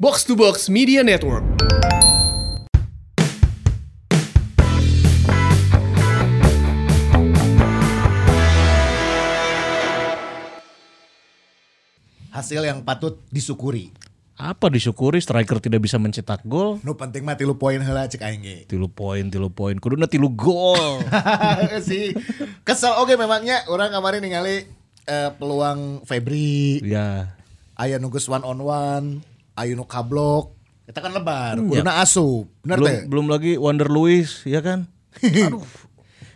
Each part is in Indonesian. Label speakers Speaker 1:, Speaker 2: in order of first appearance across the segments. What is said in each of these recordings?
Speaker 1: Box to Box Media Network.
Speaker 2: hasil yang patut disyukuri.
Speaker 3: apa disyukuri striker tidak bisa mencetak gol
Speaker 2: Nu penting mah tilu poin heula cek aing ge.
Speaker 3: tilu poin tilu poin kuduna tilu gol
Speaker 2: si kesel oke memangnya orang kemarin ningali eh, peluang Febri
Speaker 3: ya
Speaker 2: aya nu geus one on one, aya nu kablok. Kita kan lebar, kuduna asup. Bener
Speaker 3: belum
Speaker 2: teh?
Speaker 3: belum lagi Wander Luis ya kan aduh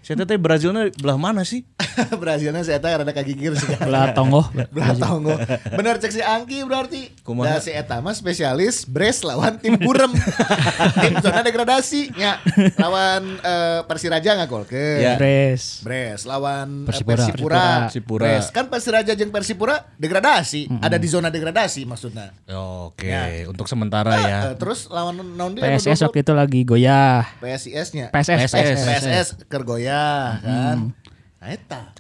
Speaker 3: saya teh Brazilnya belah mana sih
Speaker 2: Berhasilnya saya tahu rada kagigir sih.
Speaker 4: Belah tongoh.
Speaker 2: Belah tonggo. Bener cek si Angki berarti.
Speaker 3: Kumaha?
Speaker 2: Nah si Eta mah spesialis Bres lawan tim Burem. tim zona degradasi. Ya, lawan eh, Persiraja ngagolkeun.
Speaker 3: Ya.
Speaker 4: Pres.
Speaker 2: Bres lawan eh,
Speaker 4: Persipura.
Speaker 2: Persipura.
Speaker 3: Persipura.
Speaker 2: Bres kan Persiraja jeung Persipura degradasi, ada di zona degradasi maksudnya.
Speaker 3: oke
Speaker 2: Ya.
Speaker 3: untuk sementara ya
Speaker 2: Eh, terus lawan non dia anu
Speaker 4: PSS
Speaker 2: dua-
Speaker 4: waktu itu lagi goyah.
Speaker 2: PSIS-nya.
Speaker 4: PSS.
Speaker 3: PSS.
Speaker 2: PSS, kergoyah kan. Nah, eta.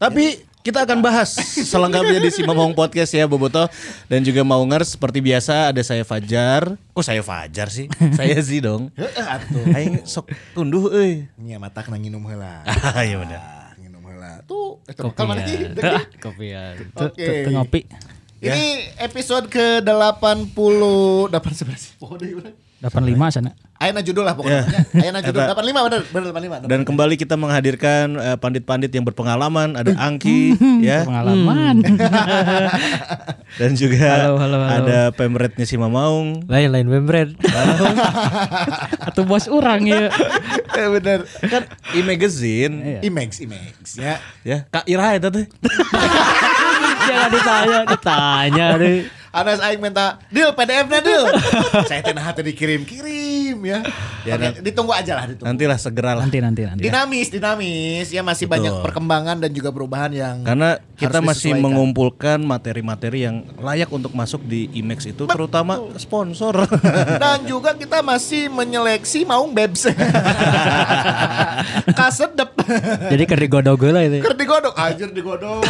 Speaker 3: Tapi kita akan bahas selengkapnya di Simamong Podcast ya Boboto dan juga Maungers seperti biasa ada saya Fajar. Kok saya Fajar sih? Saya sih dong.
Speaker 2: Heeh atuh.
Speaker 3: Aing sok tunduh euy.
Speaker 2: Nya ya, matak na nginum heula.
Speaker 3: Ah, iya bener.
Speaker 2: Ah, Nginum heula. Tuh, eta bakal
Speaker 5: ya.
Speaker 2: mana sih?
Speaker 4: Tuh, tuh,
Speaker 2: Oke.
Speaker 4: tuh ngopi.
Speaker 2: Ini
Speaker 3: Ya.
Speaker 2: episode ke-80 11. Oh, deui urang.
Speaker 4: 85
Speaker 5: Hmm.
Speaker 4: sana.
Speaker 2: Ayeuna judul lah pokoknya. Ayeuna judul
Speaker 3: Eta.
Speaker 2: 85 bener, bener 85.
Speaker 3: Ya. Dan kembali kita menghadirkan eh, pandit-pandit yang berpengalaman, ada Angki ya
Speaker 4: Pengalaman.
Speaker 3: dan juga
Speaker 5: Halo, halo, halo.
Speaker 3: ada pemretnya si Mamaung.
Speaker 5: Lain-lain membran.
Speaker 4: Atau bos orang ya.
Speaker 2: bener.
Speaker 3: Kan e-magazine
Speaker 5: Iya.
Speaker 2: Imex, Imex ya.
Speaker 3: ya, Kak Ira eta teh.
Speaker 5: Jangan ditanya, ditanya deh.
Speaker 2: Anas aing minta deal PDF-nya deal. Saya teh naha teh dikirim-kirim ya.
Speaker 3: Ya,
Speaker 2: Oke, ditunggu aja lah ditunggu.
Speaker 3: Nantilah segeralah.
Speaker 4: Nanti nanti nanti.
Speaker 2: Dinamis, dinamis ya masih banyak perkembangan dan juga perubahan yang
Speaker 3: Karena kita
Speaker 2: harus
Speaker 3: masih
Speaker 2: disesuaikan.
Speaker 3: mengumpulkan materi-materi yang layak untuk masuk di IMAX itu, terutama sponsor.
Speaker 2: dan juga kita masih menyeleksi maung babes. Kasedep.
Speaker 5: Jadi kerdi godog lah itu.
Speaker 2: Ker digodok, anjir digodok.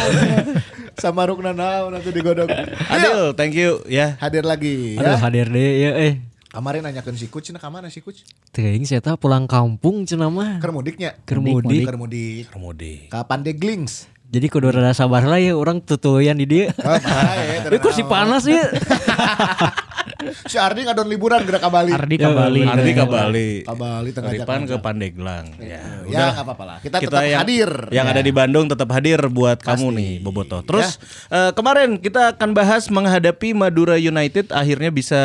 Speaker 2: Sama Rukna Nau nanti digodok. Adil.
Speaker 3: Adil, thank you ya.
Speaker 2: Hadir lagi
Speaker 5: Aduh
Speaker 2: ya.
Speaker 5: hadir deh ya eh.
Speaker 2: Kemarin nanyakan si Kuc, nah kemana si Kuc?
Speaker 5: Teuing saya tah pulang kampung cenah mah.
Speaker 2: Kermudiknya.
Speaker 5: Kermudik.
Speaker 2: Kermudik.
Speaker 3: Permudi.
Speaker 2: Kapan deglings?
Speaker 5: Jadi kudu rada sabar lah ya orang tutuyan di dia.
Speaker 2: Oh, baik,
Speaker 5: Ya kursi panas ya.
Speaker 2: Si Ardi ngadon liburan gerak ke Bali.
Speaker 4: Ardi
Speaker 5: Ya,
Speaker 4: ke Bali.
Speaker 5: Iya,
Speaker 3: Ardi ke Bali.
Speaker 2: Ke Bali tengah
Speaker 3: Ripan
Speaker 2: Jakarta.
Speaker 3: ke Pandeglang. Ya,
Speaker 2: Ya
Speaker 3: udahlah.
Speaker 2: nggak apa-apa lah. Kita, tetap
Speaker 3: yang,
Speaker 2: hadir. Ya.
Speaker 3: Yang ada di Bandung tetap hadir buat kamu nih, Boboto. Terus
Speaker 2: Ya.
Speaker 3: eh, kemarin kita akan bahas menghadapi Madura United akhirnya bisa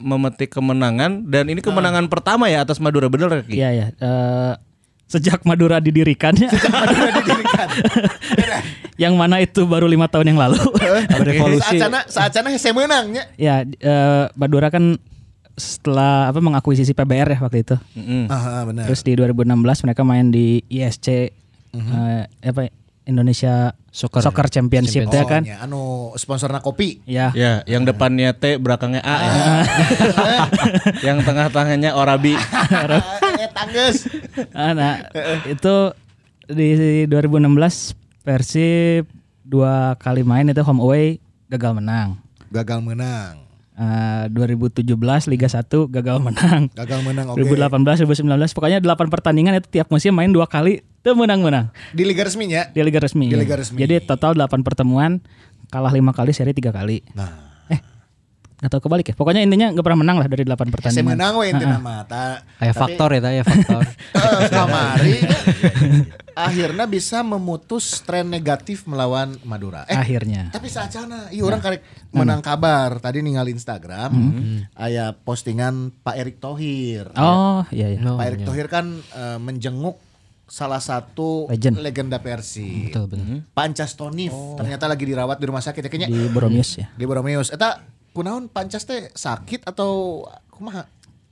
Speaker 3: memetik kemenangan dan ini
Speaker 2: Ah.
Speaker 3: kemenangan pertama ya atas Madura bener ya, Ki?
Speaker 4: Iya ya. Eh, sejak Madura didirikan ya. yang mana itu baru lima tahun yang lalu.
Speaker 2: Eh,
Speaker 5: Revolusi.
Speaker 2: Saacana, saacana hese menangnya.
Speaker 4: ya, eh, Madura kan setelah apa mengakuisisi PBR ya waktu itu.
Speaker 3: Mm-mm.
Speaker 2: Ah, benar.
Speaker 4: Terus di 2016 mereka main di ISC eh, apa ya, Indonesia Soccer, Championship ya kan.
Speaker 2: Ya, anu sponsorna kopi.
Speaker 4: Ya.
Speaker 3: Ya, yang depannya T, belakangnya A. ya. yang tengah-tengahnya Orabi.
Speaker 2: Ah, eh tangges.
Speaker 4: Ah, Nah, itu di 2016 Persib dua kali main itu home away gagal menang.
Speaker 2: Gagal menang.
Speaker 4: Eh, 2017 Liga 1 gagal menang.
Speaker 2: Gagal menang oke.
Speaker 4: 2018 2019 pokoknya 8 pertandingan itu tiap musim main dua kali itu menang-menang
Speaker 2: Di liga ya? resminya.
Speaker 4: di liga resmi.
Speaker 2: Di liga resmi.
Speaker 4: Jadi total 8 pertemuan kalah 5 kali seri 3 kali.
Speaker 2: Nah,
Speaker 4: Atau kebalik ya. Pokoknya intinya gak pernah menang lah dari 8
Speaker 2: hese Iya,
Speaker 4: pertandingan. Ah,
Speaker 2: menang we intina mata.
Speaker 5: Kayak faktor ya tah ya faktor.
Speaker 4: Iya,
Speaker 2: kamari Eh, akhirnya bisa memutus tren negatif melawan Madura. Eh,
Speaker 4: Akhirnya.
Speaker 2: Tapi saacana, iya
Speaker 4: Nah.
Speaker 2: orang karek menang kabar tadi ningali Instagram, aya postingan Pak Erick Thohir.
Speaker 4: Hmm. Oh, iya iya.
Speaker 5: No.
Speaker 2: eh. Pak Erick Thohir kan eh, menjenguk salah satu
Speaker 4: Legend. Hmm,
Speaker 2: legenda Persi.
Speaker 5: Betul betul.
Speaker 2: Pancas Tonif ternyata lagi dirawat di rumah sakit ya kayaknya
Speaker 4: Oh. Di Boromius ya.
Speaker 2: di Boromeus. Eta kunaon Pancas teh sakit atau kumaha?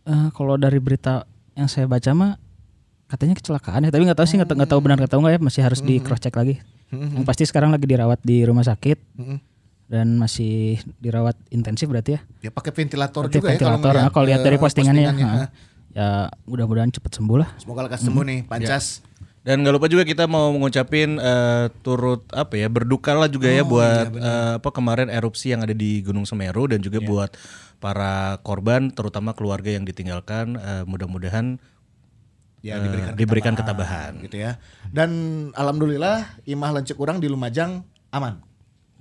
Speaker 4: Eh, kalau dari berita yang saya baca mah katanya kecelakaan ya, tapi nggak tahu sih nggak tahu- nggak tahu benar nggak tahu nggak ya, masih harus
Speaker 2: Hmm.
Speaker 4: di cross check lagi. Yang pasti sekarang lagi dirawat di rumah sakit
Speaker 2: Hmm.
Speaker 4: dan masih dirawat intensif berarti ya.
Speaker 2: Ya pakai ventilator
Speaker 4: Aktif
Speaker 2: juga ya
Speaker 4: ventilator.
Speaker 2: ngeliat,
Speaker 4: Ah, kalau lihat dari
Speaker 2: eh,
Speaker 4: postingannya, nah,
Speaker 2: postingannya.
Speaker 4: ah, ya mudah-mudahan cepat sembuh lah.
Speaker 2: Semoga lekas sembuh nih Pancas.
Speaker 3: Dan nggak lupa juga kita mau mengucapin eh, turut apa ya berduka lah juga ya buat eh, apa kemarin erupsi yang ada di Gunung Semeru dan juga buat para korban terutama keluarga yang ditinggalkan eh, mudah-mudahan
Speaker 2: Ya
Speaker 3: eh,
Speaker 2: diberikan
Speaker 3: diberikan ketabahan.
Speaker 2: gitu ya. Dan alhamdulillah imah lancuk orang di Lumajang aman.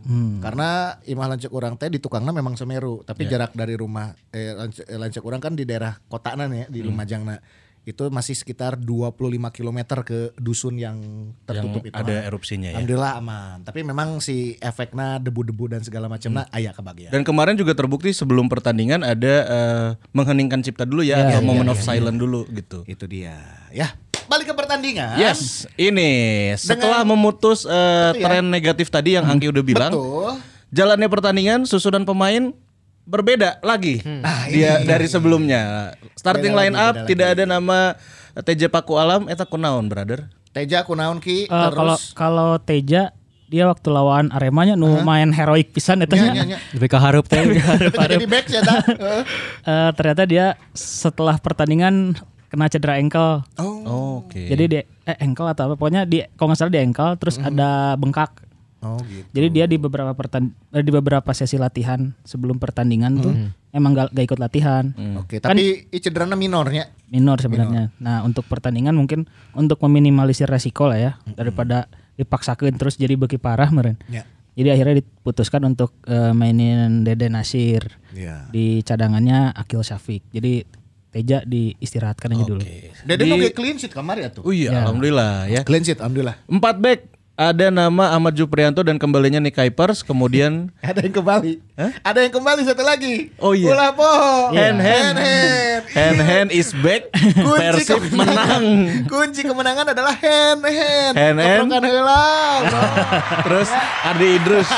Speaker 3: Hmm.
Speaker 2: Karena imah lancuk orang teh di tukangnya memang Semeru, tapi
Speaker 3: Ya.
Speaker 2: jarak dari rumah eh, lancuk, eh, lancuk orang kan di daerah kotana nih ya,
Speaker 3: Hmm.
Speaker 2: di Lumajangna. Itu masih sekitar 25 km ke dusun yang tertutup itu.
Speaker 3: Ada
Speaker 2: mah.
Speaker 3: erupsinya ya.
Speaker 2: Alhamdulillah aman. Tapi memang si efeknya debu-debu dan segala macamnya
Speaker 3: Hmm.
Speaker 2: ah, ya, aya kebagian.
Speaker 3: Dan kemarin juga terbukti sebelum pertandingan ada eh, mengheningkan cipta dulu ya, atau moment of silence dulu gitu.
Speaker 2: Itu dia. Ya, balik ke pertandingan.
Speaker 3: Yes, ini setelah memutus eh, tren negatif tadi yang Angki udah bilang.
Speaker 2: ya. Betul.
Speaker 3: Jalannya pertandingan, susunan pemain berbeda lagi.
Speaker 2: Hmm. Ah, iya,
Speaker 3: dia dari sebelumnya. Starting line up tidak ada nama TJ Paku Alam eta kunaon, eh, brother?
Speaker 2: Teja kunaon ki
Speaker 4: Eh, kalau kalau Teja dia waktu lawan Aremanya nu main heroik pisan
Speaker 2: Nya,
Speaker 4: etanya.
Speaker 2: nya, nya.
Speaker 5: Lebih ke harup teh.
Speaker 2: Tapi jadi back ya ta. Heeh.
Speaker 4: Eh, ternyata dia setelah pertandingan kena cedera ankle.
Speaker 2: Hmm.
Speaker 3: Oh, Oke.
Speaker 4: Jadi dia eh ankle atau apa pokoknya di kalau nggak salah di ankle terus ada bengkak.
Speaker 2: Mm-hmm. Oh gitu.
Speaker 4: Jadi dia di beberapa pertan eh, di beberapa sesi latihan sebelum pertandingan tuh
Speaker 2: Mm-hmm.
Speaker 4: emang gak, gak ikut latihan.
Speaker 3: Hmm.
Speaker 2: Oke, tapi i cederana minornya.
Speaker 4: minor sebenarnya. Nah untuk pertandingan mungkin untuk meminimalisir resiko lah ya daripada dipaksakan terus jadi beki parah meren.
Speaker 2: Ya.
Speaker 4: Jadi akhirnya diputuskan untuk eh, mainin Dede Nasir
Speaker 2: Iya.
Speaker 4: di cadangannya Akil Syafiq. Jadi Teja diistirahatkan aja dulu.
Speaker 2: Dede nu ge clean sheet kamar ya tuh.
Speaker 3: Oh iya, alhamdulillah ya.
Speaker 2: Clean sheet alhamdulillah.
Speaker 3: Empat back ada nama Ahmad Juprianto dan kembalinya Nick Kuipers, kemudian
Speaker 2: Ada yang kembali. Ada yang kembali satu lagi.
Speaker 3: Oh, iya.
Speaker 2: Ulah poho.
Speaker 3: Hand hand
Speaker 2: hand.
Speaker 3: hand hand is back.
Speaker 2: Kunci
Speaker 3: Persib
Speaker 2: kemenangan.
Speaker 3: menang.
Speaker 2: Kunci kemenangan adalah hand hand.
Speaker 3: Hand, hand. Ah,
Speaker 2: Keprokan heula. bro.
Speaker 3: Terus Ardi Idrus.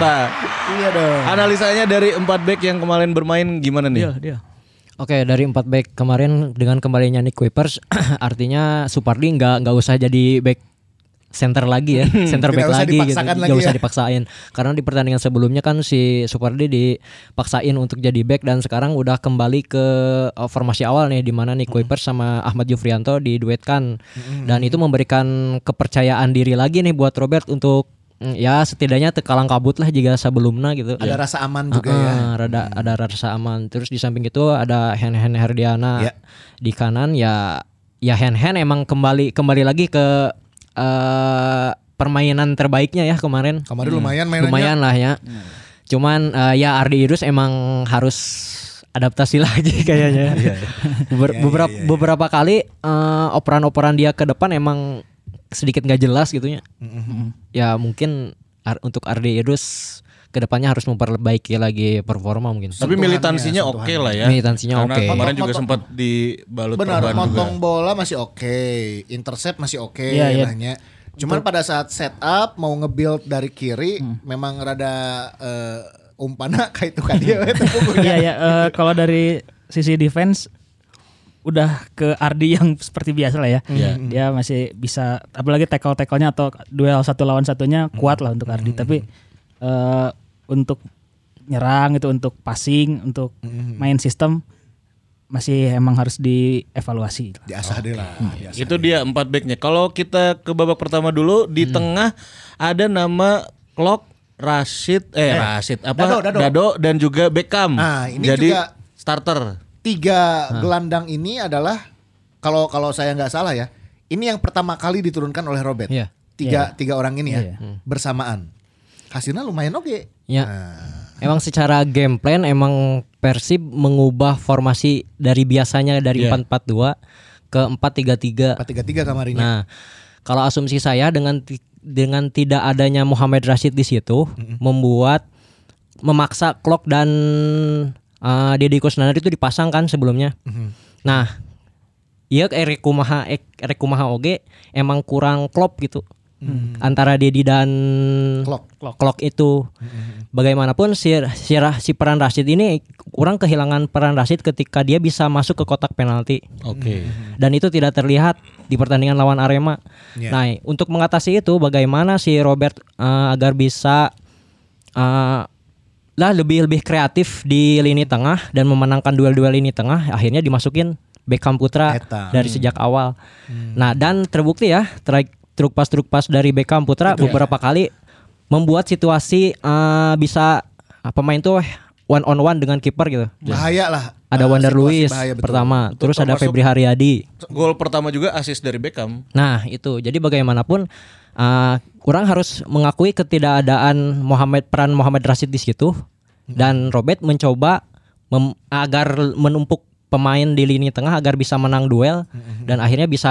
Speaker 3: Nah,
Speaker 2: Iya dong.
Speaker 3: analisanya dari empat back yang kemarin bermain gimana
Speaker 5: Iya,
Speaker 3: nih?
Speaker 5: Oke dari 4 back kemarin dengan kembalinya Nick Kuipers artinya Supardi nggak nggak usah jadi back center lagi ya center
Speaker 2: Tidak
Speaker 5: back
Speaker 2: usah
Speaker 5: lagi gitu
Speaker 2: dipaksakan
Speaker 5: nggak
Speaker 2: lagi
Speaker 5: usah
Speaker 2: ya.
Speaker 5: dipaksain karena di pertandingan sebelumnya kan si Supardi dipaksain untuk jadi back dan sekarang udah kembali ke eh, formasi awal nih di mana Nick
Speaker 2: Mm-hmm.
Speaker 5: Kuipers sama Ahmad Jufrianto diduetkan dan itu memberikan kepercayaan diri lagi nih buat Robert untuk mm, ya setidaknya tekalang kabut lah jika sebelumnya gitu
Speaker 3: iya.
Speaker 2: Ada rasa aman juga
Speaker 5: Ah,
Speaker 2: ya.
Speaker 5: Rada ada rasa aman. Terus di samping itu ada Hen Hen Herdiana
Speaker 2: Ya.
Speaker 5: di kanan ya ya Hen Hen emang kembali kembali lagi ke eh, permainan terbaiknya ya kemarin.
Speaker 2: Kemarin
Speaker 3: Hmm.
Speaker 2: lumayan mainannya.
Speaker 5: Lumayan lah ya.
Speaker 3: Iya.
Speaker 5: Cuman eh, ya Ardi Idrus emang harus adaptasi lagi kayaknya.
Speaker 3: Iya,
Speaker 5: Beber- beberapa beberapa kali eh, operan-operan dia ke depan emang sedikit nggak jelas gitunya.
Speaker 3: Mm-hmm.
Speaker 5: Ya mungkin Ar- untuk Ardi Idrus kedepannya harus memperbaiki lagi performa mungkin.
Speaker 3: Tapi militansinya oke lah ya.
Speaker 5: Militansinya
Speaker 3: Karena
Speaker 5: oke.
Speaker 3: kemarin juga
Speaker 2: Motong-
Speaker 3: sempat dibalut
Speaker 2: Benar,
Speaker 3: perban juga.
Speaker 2: motong bola masih oke, intercept masih oke
Speaker 4: Iya, iya.
Speaker 2: lahnya. Cuman pada saat setup mau nge-build dari kiri
Speaker 5: Hmm.
Speaker 2: memang rada eh, umpana kayak itu kan dia we, tepuk.
Speaker 4: Iya ya eh, kalau dari sisi defense udah ke Ardi yang seperti biasa lah ya. Dia masih bisa apalagi tackle-tacklenya atau duel satu lawan satunya kuat lah untuk Ardi. Tapi eh, untuk nyerang itu untuk passing, untuk main sistem masih emang harus dievaluasi.
Speaker 2: Diasah deh lah.
Speaker 5: Hmm.
Speaker 2: diasah.
Speaker 3: Itu dia empat backnya. Kalau kita ke babak pertama dulu
Speaker 5: Hmm.
Speaker 3: di tengah ada nama Clock, Rashid, eh, Rashid apa?
Speaker 2: Dado, Dado.
Speaker 3: dan juga Beckham.
Speaker 2: Nah, ini
Speaker 3: Jadi
Speaker 2: juga-
Speaker 3: starter.
Speaker 2: Tiga gelandang ini adalah kalau kalau saya nggak salah ya, ini yang pertama kali diturunkan oleh Robert.
Speaker 5: Iya.
Speaker 2: Tiga tiga orang ini ya
Speaker 4: Iya.
Speaker 2: bersamaan. Hasilnya lumayan oke.
Speaker 5: Ya.
Speaker 2: Nah,
Speaker 5: Emang secara game plan emang Persib mengubah formasi dari biasanya dari
Speaker 3: Iya.
Speaker 5: 4-4-2 ke 4-3-3.
Speaker 2: empat tiga tiga kamarinya.
Speaker 5: Nah, kalau asumsi saya dengan ti- dengan tidak adanya Muhammad Rashid di situ membuat memaksa Klok dan uh, Deddy Kusnandar itu dipasang kan sebelumnya. Nah, iya Erik Kumaha Erik Kumaha Oge emang kurang klop gitu. Antara Dedi dan
Speaker 2: Klok.
Speaker 5: Klok itu. Bagaimanapun si si, Ra- si peran Rashid ini kurang kehilangan peran Rashid ketika dia bisa masuk ke kotak penalti
Speaker 3: Oke.
Speaker 5: dan itu tidak terlihat di pertandingan lawan Arema.
Speaker 2: Ya.
Speaker 5: Nah, untuk mengatasi itu bagaimana si Robert eh, agar bisa eh, lah lebih lebih kreatif di lini tengah dan memenangkan duel-duel lini tengah akhirnya dimasukin Beckham Putra
Speaker 2: Eta. Hmm.
Speaker 5: dari sejak awal. Nah, dan terbukti ya truk truk pas truk pas dari Beckham Putra
Speaker 2: ya.
Speaker 5: beberapa kali membuat situasi eh, bisa ah, pemain tuh eh, one on one dengan kiper gitu.
Speaker 2: Bahaya lah.
Speaker 5: Ada
Speaker 2: Eh,
Speaker 5: Wander
Speaker 2: situasi
Speaker 5: Luiz
Speaker 2: bahaya, betul.
Speaker 5: pertama, terus ada
Speaker 3: termasuk-
Speaker 5: Febri Haryadi.
Speaker 3: Gol pertama juga assist dari Beckham.
Speaker 5: Nah itu jadi bagaimanapun uh, orang harus mengakui ketidakadaan Muhammad peran Muhammad Rashid di situ
Speaker 2: Hmm.
Speaker 5: dan Robert mencoba mem- agar menumpuk pemain di lini tengah agar bisa menang duel
Speaker 2: Hmm,
Speaker 5: dan akhirnya bisa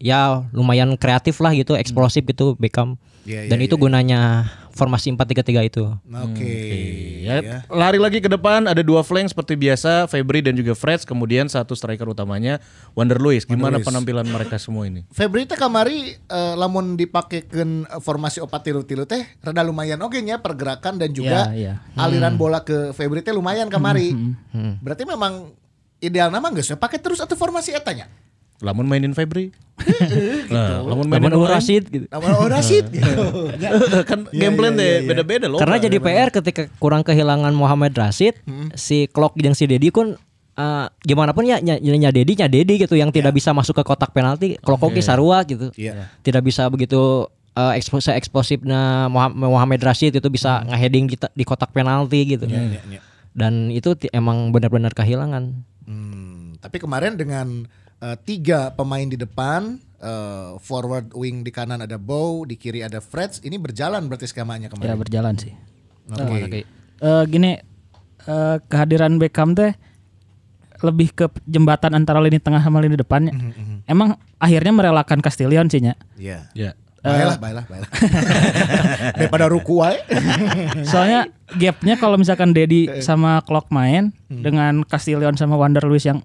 Speaker 5: ya lumayan kreatif lah gitu eksplosif gitu Beckham
Speaker 2: Iya,
Speaker 5: dan itu gunanya formasi 4-3-3 itu
Speaker 2: Nah, Oke.
Speaker 3: Iya. Lari lagi ke depan ada dua flank seperti biasa Febri dan juga Freds kemudian satu striker utamanya Wander Luiz. Gimana penampilan mereka semua ini?
Speaker 2: Febri teh kamari eh, lamun dipakekeun eh, formasi opat tilu tilu teh rada lumayan oke nya pergerakan dan juga
Speaker 4: Iya, iya.
Speaker 2: aliran bola ke Febri teh lumayan kamari. Berarti memang ideal nama geus we pakai terus atau formasi etanya.
Speaker 3: Lamun mainin Febri. nah, lamun mainin
Speaker 5: Namun
Speaker 3: orang lain.
Speaker 5: Rashid gitu.
Speaker 2: Nama oh, Rashid gitu.
Speaker 3: kan game plan deh beda-beda loh. Nah,
Speaker 5: Karena jadi PR ketika kurang kehilangan Muhammad Rashid, si Klok dan si Dedi kun eh, gimana pun ya nya, nya Dedi nya Dedi gitu yang tidak bisa masuk ke kotak penalti, Klok oke Sarua gitu.
Speaker 2: Iya.
Speaker 5: Tidak bisa begitu eh, ekspos eksplosifnya Muha- Muhammad Rashid itu bisa ngeheading di, di kotak penalti gitu.
Speaker 2: ya,
Speaker 5: Dan itu ti- emang benar-benar kehilangan.
Speaker 2: Hmm, tapi kemarin dengan eh, tiga pemain di depan, eh, forward wing di kanan ada Bow, di kiri ada Freds, ini berjalan berarti skemanya
Speaker 4: ya
Speaker 2: kemarin.
Speaker 4: berjalan sih
Speaker 2: Oke.
Speaker 4: Eh gini eh, kehadiran Beckham teh lebih ke jembatan antara lini tengah sama lini depannya emang akhirnya merelakan Castillion sih nya
Speaker 2: Iya.
Speaker 3: Ya.
Speaker 2: Baiklah, baiklah, baiklah. Daripada ruku wae.
Speaker 4: Soalnya gapnya kalau misalkan Dedi sama Clock main dengan Castillion sama Wander Luiz yang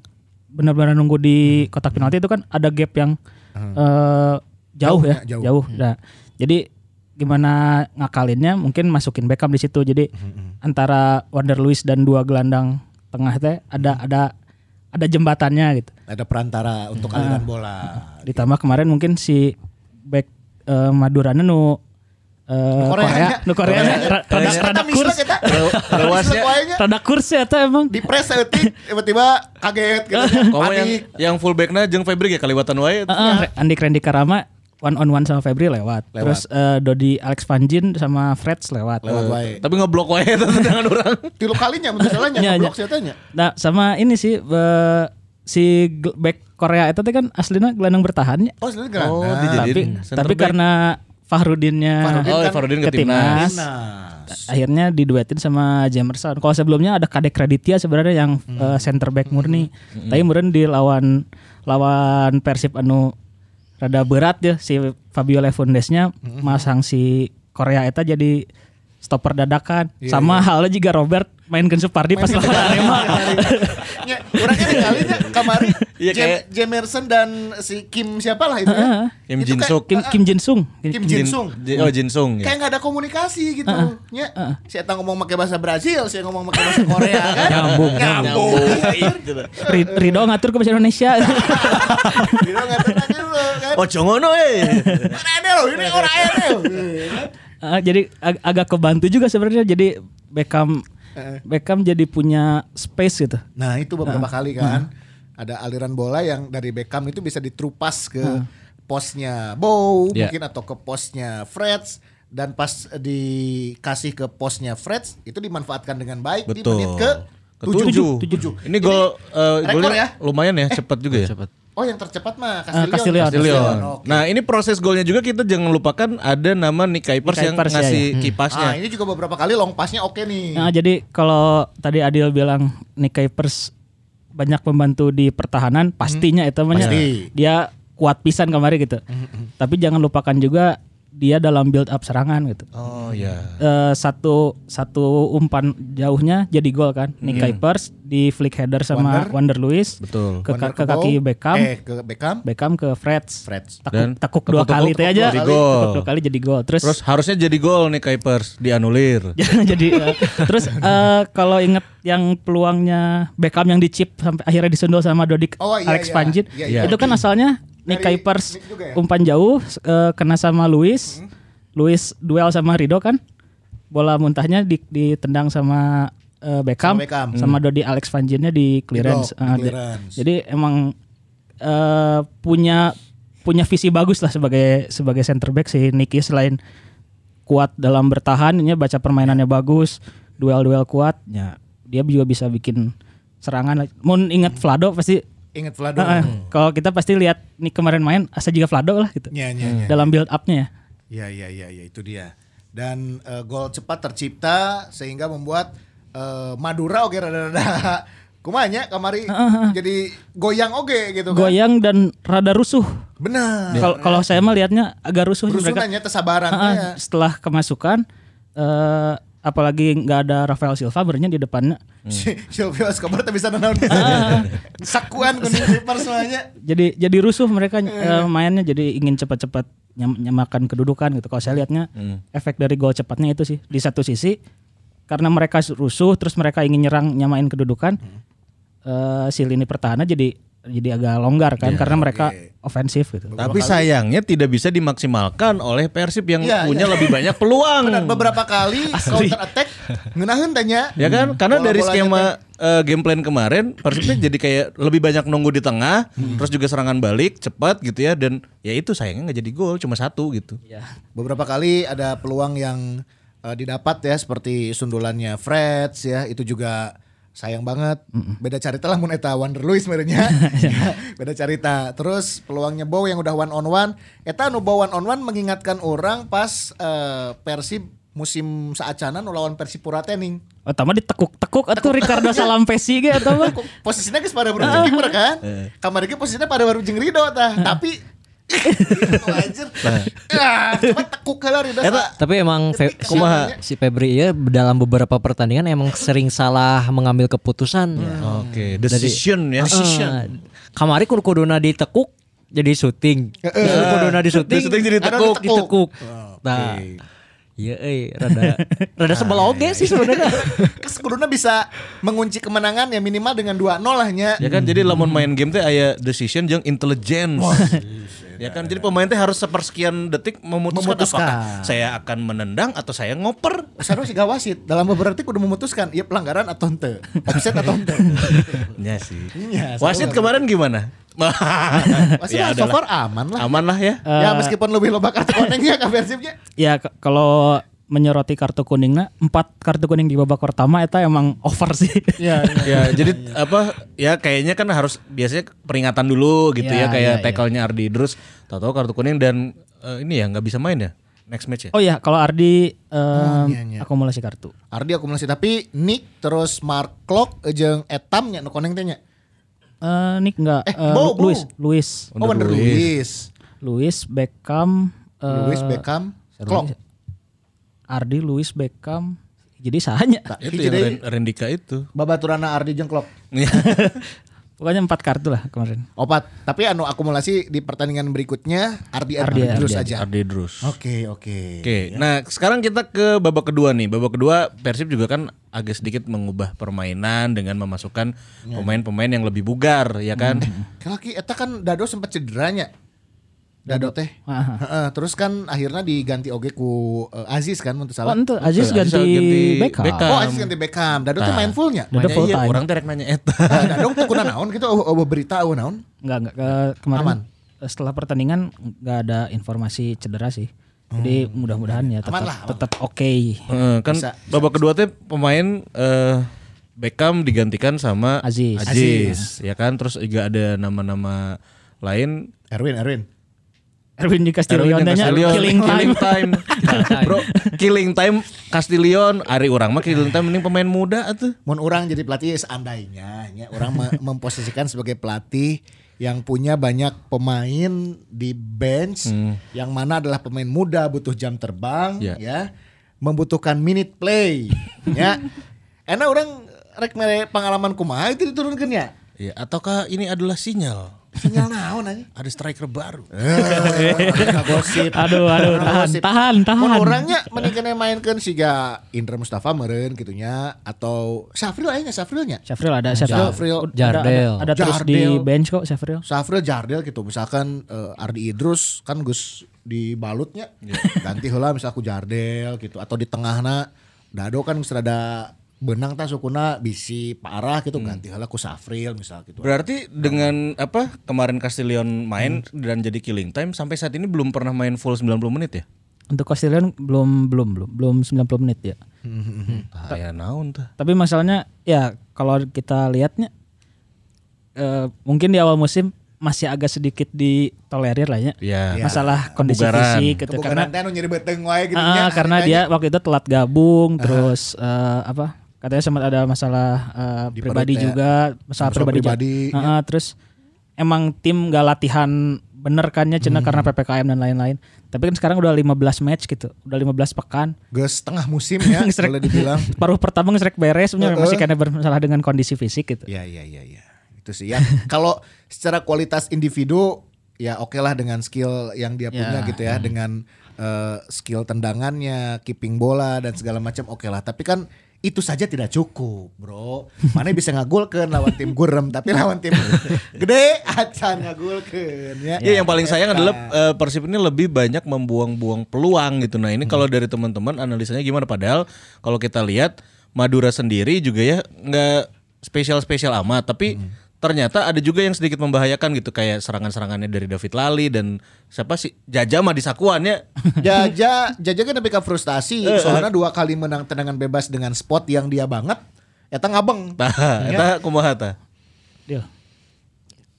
Speaker 4: benar-benar nunggu di kotak penalti itu kan ada gap yang eh, jauh,
Speaker 2: Jauh
Speaker 4: ya,
Speaker 2: ya, jauh.
Speaker 4: jauh. Nah, jadi gimana ngakalinnya mungkin masukin Beckham di situ. Jadi antara Wander Luiz dan dua gelandang tengah teh ada ada ada jembatannya gitu.
Speaker 2: Ada perantara untuk aliran bola.
Speaker 4: Ditambah kemarin mungkin si back eh, Madurana nu eh,
Speaker 2: Nu Korea.
Speaker 4: Korea, nu Korea, ra- rada, rada
Speaker 2: Tapi
Speaker 4: kurs,
Speaker 2: misalnya kita- misalnya waenya
Speaker 4: rada kurs ya teh emang.
Speaker 2: di press eutik, tiba-tiba kaget gitu.
Speaker 3: Kamu yang
Speaker 2: Panik.
Speaker 3: yang fullbacknya jeung Febri ya kaliwatan wae.
Speaker 4: Heeh, Andi Randy Karama one on one sama Febri lewat. Terus eh, Dodi Alex Panjin sama Freds lewat.
Speaker 2: Lewat wae.
Speaker 3: Tapi ngeblok wae itu tendangan orang.
Speaker 2: Tilu kalinya misalnya
Speaker 4: Nya,
Speaker 2: ngeblok
Speaker 4: nya.
Speaker 2: saya tanya.
Speaker 4: Iya, Nah, sama ini sih eh, si gel- back Korea itu teh kan aslinya gelandang bertahan ya.
Speaker 2: Oh, sebenarnya gelandang.
Speaker 3: Oh, dijadiin
Speaker 4: tapi
Speaker 3: center
Speaker 4: tapi
Speaker 3: back.
Speaker 4: karena Fahrudinnya
Speaker 2: Fahrudin
Speaker 3: Oh,
Speaker 2: kan
Speaker 3: Farudin
Speaker 4: ke
Speaker 3: ke timnas.
Speaker 4: timnas
Speaker 2: Nah.
Speaker 4: akhirnya diduetin sama Jamerson. Kalau sebelumnya ada Kadek Raditya sebenarnya yang eh, center back murni. Tapi kemudian di lawan lawan Persib anu rada berat ya si Fabio Lewandowski-nya masang si Korea eta jadi stopper dadakan. sama halnya juga Robert mainkan Supardi pas lawan Arema.
Speaker 2: Ya, orang kan ngalinya kamari
Speaker 3: Iya,
Speaker 2: Jam,
Speaker 3: kayak-
Speaker 2: Jamerson dan si Kim siapa lah itu ya.
Speaker 3: Kim
Speaker 2: Itu
Speaker 3: Jin
Speaker 2: kayak-
Speaker 3: Suk.
Speaker 4: Kim Kim Jin Sung.
Speaker 2: Kim Jin Sung.
Speaker 3: Jin- Oh Jin Sung ya.
Speaker 2: Kayak nggak ada komunikasi gitu. Ya, si Eta ngomong pakai bahasa Brazil, si Eta ngomong pakai bahasa Korea kan.
Speaker 4: Nyambung,
Speaker 2: Nyambung.
Speaker 3: Iya, gitu.
Speaker 4: Ri- Rido ngatur ke bahasa Indonesia.
Speaker 2: Gitu ngatain aja lu kan.
Speaker 3: Oh jongono eh.
Speaker 2: Orang ada loh, ini orang Iya, ada loh. kan?
Speaker 4: Ah, jadi ag- agak kebantu juga sebenarnya jadi Beckham Beckham jadi punya space gitu.
Speaker 2: Nah, itu beberapa kali kan ada aliran bola yang dari Beckham itu bisa ditrupas ke
Speaker 4: Hmm.
Speaker 2: posnya Bow
Speaker 4: Ya.
Speaker 3: Iya.
Speaker 2: mungkin atau ke posnya Freds dan pas dikasih ke posnya Freds itu dimanfaatkan dengan baik di
Speaker 3: Betul.
Speaker 2: menit ke
Speaker 3: Ketujuh.
Speaker 2: Tujuh.
Speaker 3: Ini gol eh,
Speaker 2: rekor ya.
Speaker 3: golnya lumayan ya, cepat juga ya.
Speaker 2: Oh yang tercepat
Speaker 4: Ah,
Speaker 2: mah Castillion.
Speaker 4: Castillion.
Speaker 3: Castillion.
Speaker 2: oke.
Speaker 3: Nah ini proses golnya juga kita jangan lupakan ada nama Nick Kuipers
Speaker 4: Nick
Speaker 3: yang
Speaker 4: Kuipers, ya,
Speaker 3: ngasih
Speaker 4: ya. Hmm.
Speaker 3: kipasnya.
Speaker 2: Ah, ini juga beberapa kali long passnya oke nih.
Speaker 4: Nah, jadi kalau tadi Adil bilang Nick Kuipers banyak membantu di pertahanan, pastinya itu namanya
Speaker 2: Pasti.
Speaker 4: dia kuat pisan kemarin gitu. Tapi jangan lupakan juga dia dalam build up serangan gitu.
Speaker 3: Oh
Speaker 2: iya.
Speaker 3: ya.
Speaker 4: Eh, satu satu umpan jauhnya jadi gol kan. Nick Kuipers di flick header sama Wander, Lewis
Speaker 3: Betul.
Speaker 4: ke,
Speaker 2: Corner
Speaker 4: ke
Speaker 2: Bow,
Speaker 4: kaki Beckham,
Speaker 2: Eh ke Beckham.
Speaker 4: Beckham ke Freds.
Speaker 2: Freds.
Speaker 4: Tekuk,
Speaker 3: Dan
Speaker 4: tekuk
Speaker 3: tekuk-
Speaker 4: dua
Speaker 3: tekuk-
Speaker 4: kali itu
Speaker 3: tekuk
Speaker 4: aja.
Speaker 3: dua kali.
Speaker 4: Tekuk dua kali jadi gol. Terus,
Speaker 3: Terus harusnya jadi gol nih Kuipers dianulir.
Speaker 4: jadi eh, terus eh, kalau inget yang peluangnya Beckham yang dicip sampai akhirnya disundul sama Dodik
Speaker 2: Oh, iya,
Speaker 4: Alex
Speaker 2: iya.
Speaker 4: Panjit
Speaker 2: Iya, iya.
Speaker 4: itu kan asalnya Nick
Speaker 2: Dari
Speaker 4: Kuipers
Speaker 2: Nick juga ya? Hmm.
Speaker 4: umpan jauh eh, kena sama Luis Luis duel sama Rido kan bola muntahnya di- ditendang sama eh, Beckham,
Speaker 2: Sama Beckham.
Speaker 4: sama, Dodi Alex Van Gien-nya di clearance.
Speaker 2: blok, di
Speaker 4: Ah, di-
Speaker 2: clearance.
Speaker 4: Jadi emang eh, punya punya visi bagus lah sebagai sebagai center back si Nicky selain kuat dalam bertahan, ini baca permainannya
Speaker 2: Ya.
Speaker 4: bagus, duel-duel kuat, ya dia juga bisa bikin serangan. Mau ingat Vlado pasti
Speaker 2: Ingat Hmm. Vlado.
Speaker 4: Ah, ah. kalau kita pasti lihat nih kemarin main asa juga Vlado lah gitu.
Speaker 2: Iya, iya, iya.
Speaker 4: Dalam build up-nya ya.
Speaker 2: Ya, ya, ya, ya itu dia. Dan eh, gol cepat tercipta sehingga membuat eh, Madura oke rada-rada kumanya kamari jadi goyang oke gitu kan. Ya.
Speaker 4: Goyang dan rada rusuh.
Speaker 2: Benar.
Speaker 4: Kalau kalau saya mah lihatnya agak rusuh sih mereka.
Speaker 2: Rusunannya Iya. kesabaran
Speaker 4: Ah, ah, setelah kemasukan eh apalagi nggak ada Rafael Silva bernya di depannya.
Speaker 2: Si Silvio Escobar tapi bisa nanaun.
Speaker 4: Ah.
Speaker 2: Sakuan kondisi personalnya.
Speaker 4: Jadi jadi rusuh mereka eh, mainnya jadi ingin cepat-cepat nyam- nyamakan kedudukan gitu. Kalau saya lihatnya efek dari gol cepatnya itu sih di satu sisi karena mereka rusuh terus mereka ingin nyerang nyamain kedudukan eh si lini pertahanan jadi jadi agak longgar kan karena mereka ofensif gitu.
Speaker 3: Tapi sayangnya tidak bisa dimaksimalkan oleh Persib yang
Speaker 2: Iya,
Speaker 3: punya
Speaker 2: iya.
Speaker 3: lebih banyak peluang.
Speaker 2: Benar
Speaker 4: Hmm.
Speaker 2: beberapa kali counter attack ngeunaheun tanya.
Speaker 3: Ya kan? Karena
Speaker 2: Hmm. Bola-bolanya
Speaker 3: dari skema eh, game plan kemarin Persib jadi kayak lebih banyak nunggu di tengah,
Speaker 2: Hmm.
Speaker 3: terus juga serangan balik cepat gitu ya dan ya itu sayangnya nggak jadi gol cuma satu gitu.
Speaker 2: Iya. Beberapa kali ada peluang yang eh, didapat ya seperti sundulannya Freds ya itu juga sayang banget. Beda carita lah mun eta Wander Luis merenya. Beda carita. Terus peluangnya Bow yang udah one on one, eta anu Bow one on one mengingatkan orang pas eh, Persib musim saacanan nu lawan Persipura teh ning.
Speaker 4: Utama ditekuk-tekuk atau Ricardo Salampesi gitu atau apa?
Speaker 2: Posisinya geus pada baru jeung kiper kan? Kamari ge posisinya pada baru jeung Rido tah, tapi Gitu, anjir. Ah, cuma tekuk heula Rido. sa-
Speaker 5: Tapi emang Fe- si,
Speaker 2: Kumaha?
Speaker 5: si Febri ya dalam beberapa pertandingan emang sering salah mengambil keputusan.
Speaker 3: Oke,
Speaker 4: Hmm.
Speaker 3: decision ya.
Speaker 5: Ah, kamari kur kuduna ditekuk jadi syuting. Kur kuduna di syuting.
Speaker 3: Di syuting jadi
Speaker 5: ada
Speaker 3: tekuk. Oh,
Speaker 5: Ditekuk. Nah. Iya, eh, rada rada sebel
Speaker 3: Nah,
Speaker 5: oge
Speaker 3: iya,
Speaker 5: sih sebenarnya.
Speaker 2: Kes kuduna Kan bisa mengunci kemenangan ya minimal dengan 2-0 lahnya.
Speaker 3: Ya kan jadi lamun main game teh aya decision jeung intelligence. ya kan jadi pemain teh harus sepersekian detik memutuskan,
Speaker 2: Memutuskan.
Speaker 3: apakah saya akan menendang atau saya ngoper.
Speaker 2: Sarwa sih gawasit dalam beberapa detik udah memutuskan ya pelanggaran atau ente, offset atau ente.
Speaker 3: Ya sih.
Speaker 2: Iya,
Speaker 3: Wasit kemarin gimana? Ya
Speaker 2: Wasit mah so
Speaker 3: adalah.
Speaker 2: far aman lah.
Speaker 3: Aman lah ya.
Speaker 2: ya meskipun lebih loba kartu konengnya ke Persibnya.
Speaker 4: Ya k- kalau menyoroti kartu kuningnya empat kartu kuning di babak pertama itu emang over sih.
Speaker 2: Ya,
Speaker 3: ya jadi apa ya kayaknya kan harus biasanya peringatan dulu gitu ya,
Speaker 4: Ya,
Speaker 3: kayak
Speaker 4: ya, ya.
Speaker 3: tackle-nya Ardi terus tahu-tahu kartu kuning dan eh, ini ya nggak bisa main ya next match ya.
Speaker 4: oh ya kalau Ardi em,
Speaker 2: iya, iya.
Speaker 4: akumulasi kartu.
Speaker 2: Ardi akumulasi tapi Nick terus Mark Klok jeung Etamnya nu koneng teh nya.
Speaker 4: Eh Nick enggak
Speaker 2: Eh,
Speaker 4: eh,
Speaker 2: Bo, Bo.
Speaker 4: Luis, Luis,
Speaker 2: Oh, Wander Luis.
Speaker 4: Luis Beckham, eh,
Speaker 2: Luis Beckham, Klok.
Speaker 4: Ardi, Luis Beckham. Jadi sahanya.
Speaker 3: Itu
Speaker 2: Nah, Hiji deui.
Speaker 3: yang Ren- Rendika itu.
Speaker 2: Babaturana Ardi jeung Klok.
Speaker 4: Pokoknya empat kartu lah kemarin.
Speaker 2: Opat, tapi anu akumulasi di pertandingan berikutnya Ardi Ardi,
Speaker 4: Ardi,
Speaker 2: terus
Speaker 4: Ardi,
Speaker 2: aja.
Speaker 3: Ardi Drus. Oke.
Speaker 2: Oke, oke.
Speaker 4: Iya.
Speaker 3: nah sekarang kita ke babak kedua nih. Babak kedua Persib juga kan agak sedikit mengubah permainan dengan memasukkan
Speaker 4: Iya.
Speaker 3: pemain-pemain yang lebih bugar ya kan.
Speaker 4: Hmm.
Speaker 2: Laki eta kan Dado sempat cederanya. Dado teh.
Speaker 4: Aha.
Speaker 2: Heeh, terus kan akhirnya diganti oge ku eh, Aziz kan untuk
Speaker 4: Oh,
Speaker 2: salah.
Speaker 4: ente
Speaker 3: Aziz
Speaker 4: Aziz ganti,
Speaker 3: ganti
Speaker 4: Beckham.
Speaker 3: Beckham.
Speaker 2: Oh, Aziz ganti Beckham. Dado teh main fullnya.
Speaker 4: Dado
Speaker 3: Makanya
Speaker 4: full
Speaker 3: iya,
Speaker 4: time.
Speaker 3: orang terek nanya eta.
Speaker 2: Nah, Dado teh kuna naon gitu oh, oh, berita oh naon.
Speaker 4: Enggak, enggak ke- kemarin
Speaker 2: Aman.
Speaker 4: eh, setelah pertandingan enggak ada informasi cedera sih. Jadi mudah-mudahan ya tetap
Speaker 2: lah, Hmm. aman.
Speaker 4: tetap oke.
Speaker 3: Heeh, kan
Speaker 2: Bisa,
Speaker 3: babak kedua teh pemain eh, Beckham digantikan sama
Speaker 4: Aziz.
Speaker 3: ya kan terus juga ada nama-nama lain
Speaker 2: Erwin, Erwin.
Speaker 4: Erwin di Castillion
Speaker 3: Erwin yang
Speaker 4: nya
Speaker 3: Castillion,
Speaker 4: killing time.
Speaker 3: killing time. Bro, killing time Castillion, ari urang mah killing time mending pemain muda atuh.
Speaker 2: Mun orang jadi pelatih seandainya nya orang me- memposisikan sebagai pelatih yang punya banyak pemain di bench
Speaker 4: Hmm.
Speaker 2: yang mana adalah pemain muda butuh jam terbang
Speaker 3: Ya.
Speaker 2: ya membutuhkan minute play ya enak orang rek mere pengalaman kumaha itu diturunkan ya
Speaker 3: Ya, ataukah ini adalah sinyal?
Speaker 2: sinyal naon aja
Speaker 3: Ada striker baru.
Speaker 2: gosip
Speaker 4: Aduh, aduh,
Speaker 2: Nggak
Speaker 4: tahan,
Speaker 2: gosip.
Speaker 4: tahan, tahan.
Speaker 2: Mun orangnya mendingan mainkan siga Indra Mustafa meren gitunya atau Safril aja nggak Safrilnya
Speaker 4: Syafril ada, Syafril
Speaker 2: Syafril.
Speaker 4: ada, ada,
Speaker 5: Jardel.
Speaker 4: ada terus di
Speaker 2: Jardel.
Speaker 4: bench kok Syafril.
Speaker 2: Safril Jardel gitu misalkan eh, Ardi Idrus kan Gus dibalutnya
Speaker 4: Iya.
Speaker 2: ganti heula misal aku Jardel gitu atau di tengahna Dado kan geus rada benang tak sukuna bisi parah gitu
Speaker 4: Hmm.
Speaker 2: ganti heula ku Safril misal gitu.
Speaker 3: Berarti dengan apa kemarin Castillion main dan jadi killing time sampai saat ini belum pernah main full 90 menit ya?
Speaker 4: Untuk Castillion belum belum belum belum 90 menit ya.
Speaker 3: Ah, ya naon tuh.
Speaker 4: Tapi masalahnya ya kalau kita lihatnya eh, mungkin di awal musim masih agak sedikit ditolerir lah ya.
Speaker 3: Ya.
Speaker 4: Masalah kondisi
Speaker 3: Kebugaran.
Speaker 4: fisik gitu karena
Speaker 2: Kebugaran teh anu nyeri beteng wae gitu
Speaker 4: Ah, karena dia waktu itu telat gabung terus eh, apa katanya sempat ada masalah eh,
Speaker 2: Di
Speaker 4: pribadi
Speaker 2: perut, ya.
Speaker 4: juga masalah
Speaker 2: Masalah
Speaker 4: pribadi, juga.
Speaker 2: pribadi, ya.
Speaker 4: Ah, ah, terus emang tim gak latihan bener kannya
Speaker 2: Hmm.
Speaker 4: cina karena ppkm dan lain-lain tapi kan sekarang udah 15 match gitu udah 15 pekan
Speaker 2: Geus setengah musim ya
Speaker 4: Ngeserek.
Speaker 2: boleh dibilang.
Speaker 4: paruh pertama ngeserek beres sebenarnya masih karena bermasalah dengan kondisi fisik gitu
Speaker 2: Ya ya ya ya. Itu sih ya. Kalau secara kualitas individu ya oke lah dengan skill yang dia punya gitu ya dengan eh, skill tendangannya, keeping bola dan segala macam oke lah. Tapi kan itu saja tidak cukup, Bro. Mana bisa ngagulkeun lawan tim gurem tapi lawan tim gede acan ngagulkeun ya.
Speaker 3: Ya, yang paling sayang adalah eh, Persib ini lebih banyak membuang-buang peluang gitu. Nah, ini kalau dari teman-teman analisanya gimana padahal kalau kita lihat Madura sendiri juga ya nggak spesial-spesial amat, tapi ternyata ada juga yang sedikit membahayakan gitu kayak serangan-serangannya dari David Lali dan siapa sih Jajama di sakuannya.
Speaker 2: Jaja, Jaja kan lebih ke frustasi soalnya dua kali menang tendangan bebas dengan spot yang dia banget. Eta ngabeng.
Speaker 3: Tah, eta kumaha tah?
Speaker 4: Deal.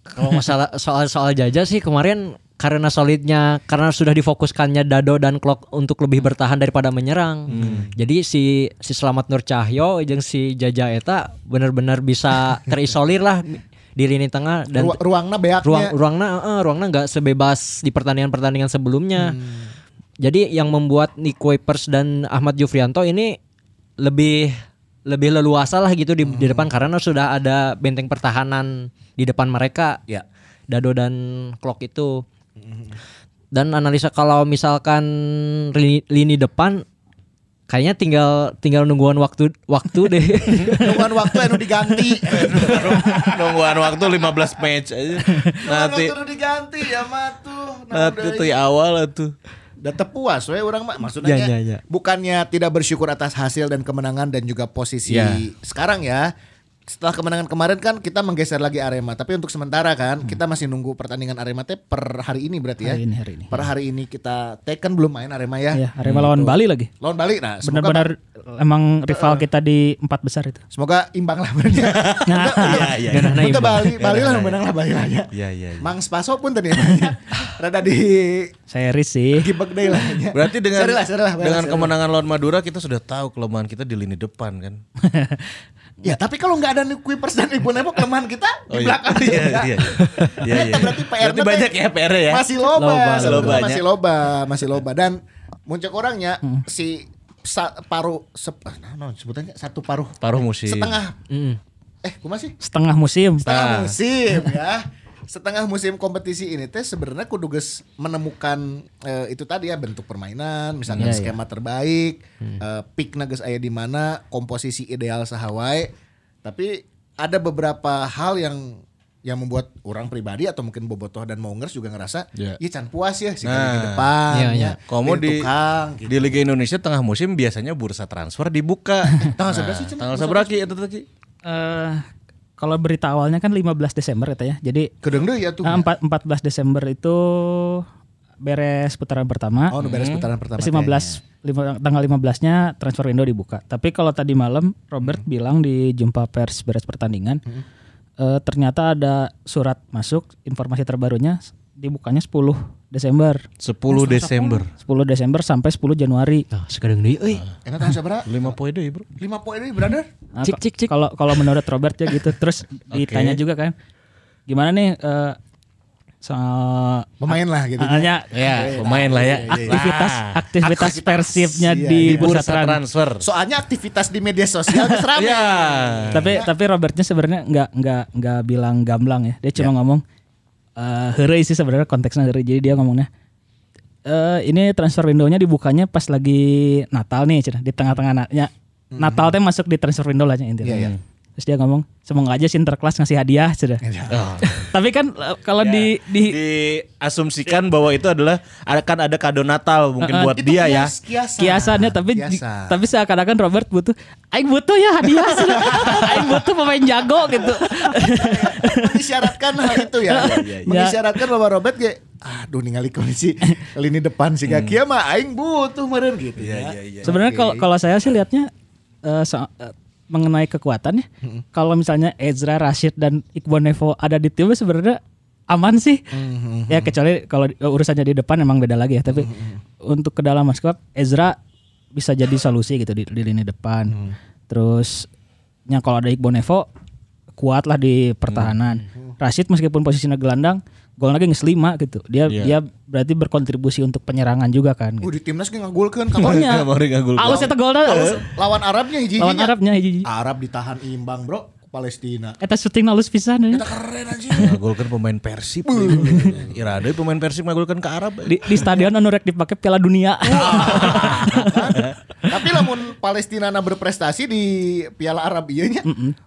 Speaker 5: Kalau masalah soal soal jaja sih kemarin karena solidnya karena sudah difokuskannya Dado dan Klok untuk lebih bertahan daripada menyerang.
Speaker 3: Hmm.
Speaker 5: Jadi si si Selamat Nur Cahyo jeung si Jaja eta benar-benar bisa terisolir lah di lini tengah dan
Speaker 2: Ru- ruangna beaknya.
Speaker 5: ruang ruangnya eh, ruangnya nggak sebebas di pertandingan pertandingan sebelumnya jadi yang membuat Nick Kuipers dan Ahmad Jufrianto ini lebih lebih leluasa lah gitu di, di depan karena sudah ada benteng pertahanan di depan mereka
Speaker 2: Ya.
Speaker 5: Dado dan Klok itu Hmm. dan analisa kalau misalkan lini, lini depan kayaknya tinggal tinggal nungguan waktu waktu deh
Speaker 2: Nungguan waktu anu diganti.
Speaker 3: Nungguan waktu 15 match aja. Nanti
Speaker 2: Kalau diganti ya matuh.
Speaker 3: nanti tuh ya. awal tuh.
Speaker 2: Udah tepuas we orang mah maksudnya
Speaker 5: Ya, ya, ya.
Speaker 2: bukannya tidak bersyukur atas hasil dan kemenangan dan juga posisi
Speaker 3: Ya.
Speaker 2: sekarang ya. Setelah kemenangan kemarin kan kita menggeser lagi Arema, tapi untuk sementara kan kita masih nunggu pertandingan Arema teh per hari ini berarti ya.
Speaker 4: Hari ini, hari ini.
Speaker 2: Per hari ini kita teh kan belum main Arema ya.
Speaker 4: ya Arema lawan Bali lagi
Speaker 2: Lawan Bali nah semoga
Speaker 4: benar-benar emang rival kita di empat besar itu
Speaker 2: semoga imbang lah berarti.
Speaker 3: Iya, iya.
Speaker 5: Gak nana
Speaker 2: Kita
Speaker 5: imbang.
Speaker 2: Bali, Bali lah menang lah Bali lah ya.
Speaker 3: Iya, iya, iya.
Speaker 2: Mang Spaso pun tadi rada di
Speaker 4: saya sih
Speaker 2: gibek deh lah. ya.
Speaker 3: Berarti dengan
Speaker 2: Sorry lah, sorry lah,
Speaker 3: dengan
Speaker 2: sorry lah.
Speaker 3: kemenangan lawan Madura kita sudah tahu kelemahan kita di lini depan kan.
Speaker 2: Ya tapi kalau nggak ada Kuipers dan Ibu Nepo kelemahan kita
Speaker 3: Oh,
Speaker 2: di
Speaker 3: iya.
Speaker 2: belakang
Speaker 3: Iya,
Speaker 2: juga.
Speaker 3: iya, iya, iya.
Speaker 2: Berarti PR
Speaker 3: Berarti banyak ya PR-nya ya.
Speaker 2: Masih loba,
Speaker 3: Loba,
Speaker 2: sebetulnya
Speaker 3: lobanya.
Speaker 2: masih loba, masih loba dan muncul orangnya
Speaker 3: Hmm.
Speaker 2: si sa- paruh sep, ah, nah, nah, sebutannya satu paruh
Speaker 3: Paruh musim.
Speaker 2: setengah
Speaker 3: Hmm.
Speaker 5: Mm.
Speaker 2: eh gue masih
Speaker 4: setengah musim
Speaker 2: setengah
Speaker 3: Ah.
Speaker 2: musim ya setengah musim kompetisi ini teh sebenarnya kudu geus menemukan eh, itu tadi ya bentuk permainan misalkan
Speaker 4: Iya, iya.
Speaker 2: skema terbaik eh, pick geus aya di mana komposisi ideal sahawai tapi ada beberapa hal yang yang membuat orang pribadi atau mungkin bobotoh dan maungers juga ngerasa
Speaker 3: Iya.
Speaker 2: ya can puas ya si
Speaker 3: Nah.
Speaker 2: kali di depan
Speaker 5: Iya, iya.
Speaker 2: ya
Speaker 3: Komo
Speaker 2: di
Speaker 3: di
Speaker 2: tukang gitu.
Speaker 3: di Liga Indonesia tengah musim biasanya bursa transfer dibuka. Nah,
Speaker 2: Tanggal sebelas sih, Cen.
Speaker 3: Tanggal seberapa itu tadi?
Speaker 4: eh kalau berita awalnya kan 15 Desember katanya. Jadi
Speaker 2: Kedeng deui ya tuh
Speaker 4: eh, empat- 14 Desember itu beres putaran pertama.
Speaker 2: oh nu beres putaran pertama
Speaker 4: Terus 15 lima- tanggal 15-nya transfer window dibuka. Tapi kalau tadi malam
Speaker 2: Hmm.
Speaker 4: Robert bilang di jumpa pers beres pertandingan eh, ternyata ada surat masuk informasi terbarunya dibukanya 10 Desember.
Speaker 3: 10 Desember.
Speaker 4: 10 Desember sampai 10 Januari.
Speaker 5: Nah, sekarang deh, euy.
Speaker 2: kayaknya. enak tanggal sabaraha
Speaker 3: 5 poin deh, Bro.
Speaker 2: 5 poin deui brother
Speaker 4: Nah,
Speaker 5: Cik,
Speaker 4: ka-
Speaker 5: cik, cik.
Speaker 4: Kalau kalau menurut Robert ya gitu. Terus ditanya juga kan, gimana nih eh, soal
Speaker 2: pemain lah gitu
Speaker 4: hanya
Speaker 3: Ya, pemain lah ya.
Speaker 4: aktivitas aktivitas
Speaker 2: iya. Aktivitas,
Speaker 4: persibnya
Speaker 2: iya,
Speaker 4: di
Speaker 2: di
Speaker 4: bursa
Speaker 3: Bursa
Speaker 4: transfer.
Speaker 3: transfer.
Speaker 2: Soalnya aktivitas di media sosial geus rame.
Speaker 3: Ya.
Speaker 4: Tapi
Speaker 2: Iya.
Speaker 4: tapi Robertnya sebenarnya nggak nggak nggak bilang gamblang ya. Dia
Speaker 2: Iya.
Speaker 4: cuma ngomong eh heureuy sih sebenarnya konteksnya heureuy. Jadi dia ngomongnya eh ini transfer window-nya dibukanya pas lagi Natal nih, cenah, di tengah-tengah na- ya, Natal teh masuk di transfer window lah cenah, intinya.
Speaker 2: Mhm. Iya, iya.
Speaker 4: Terus dia ngomong, semoga aja Sinterklas ngasih hadiah sudah. Tapi kan eh, kalau
Speaker 2: Iya.
Speaker 4: di di
Speaker 3: diasumsikan bahwa itu adalah akan ada kado Natal mungkin
Speaker 4: Uh-uh.
Speaker 3: buat dia ya.
Speaker 2: kias- kiasan.
Speaker 4: kiasannya tapi di-
Speaker 2: Kiasan.
Speaker 4: tapi seakan-akan Robert butuh aing butuh ya hadiah. sudah. aing butuh pemain jago gitu.
Speaker 2: mengisyaratkan hal itu
Speaker 3: Iya,
Speaker 2: ya. mengisyaratkan bahwa Robert kayak aduh ningali kondisi lini depan sih
Speaker 3: Hmm.
Speaker 2: gak kia mah aing butuh meren gitu
Speaker 3: Iya,
Speaker 2: ya.
Speaker 4: Sebenarnya kalau kalau saya sih lihatnya eh, so- eh, mengenai kekuatannya, kalau misalnya Ezra, Rashid dan Iqbal Nevo ada di timnya sebenarnya aman sih. Ya kecuali kalau di- urusannya di depan emang beda lagi ya. Tapi untuk ke dalam squad Ezra bisa jadi solusi gitu di, di lini depan. Terus ya kalau ada Iqbal Nevo kuat lah di pertahanan. Rashid meskipun posisinya gelandang, gol lagi ngeslima gitu. Dia dia berarti berkontribusi untuk penyerangan juga kan.
Speaker 2: Uh,
Speaker 4: Gitu.
Speaker 2: di timnas ge ngagulkeun
Speaker 4: Pokoknya
Speaker 3: Kemarin ngagul.
Speaker 4: Alus eta golna
Speaker 2: Iya,
Speaker 4: alus.
Speaker 2: lawan Arabnya hiji
Speaker 4: Lawan Arabnya hiji.
Speaker 2: Arab ditahan imbang, Bro, ke Palestina.
Speaker 4: Eta syuting alus pisan ya.
Speaker 2: Kita keren aja.
Speaker 3: Ngagulkan pemain Persib. Irade pemain Persib ngagulkan ke Arab.
Speaker 4: Di, di stadion anu rek dipake Piala Dunia.
Speaker 2: Tapi lamun Palestina na berprestasi di Piala Arab ieu nya.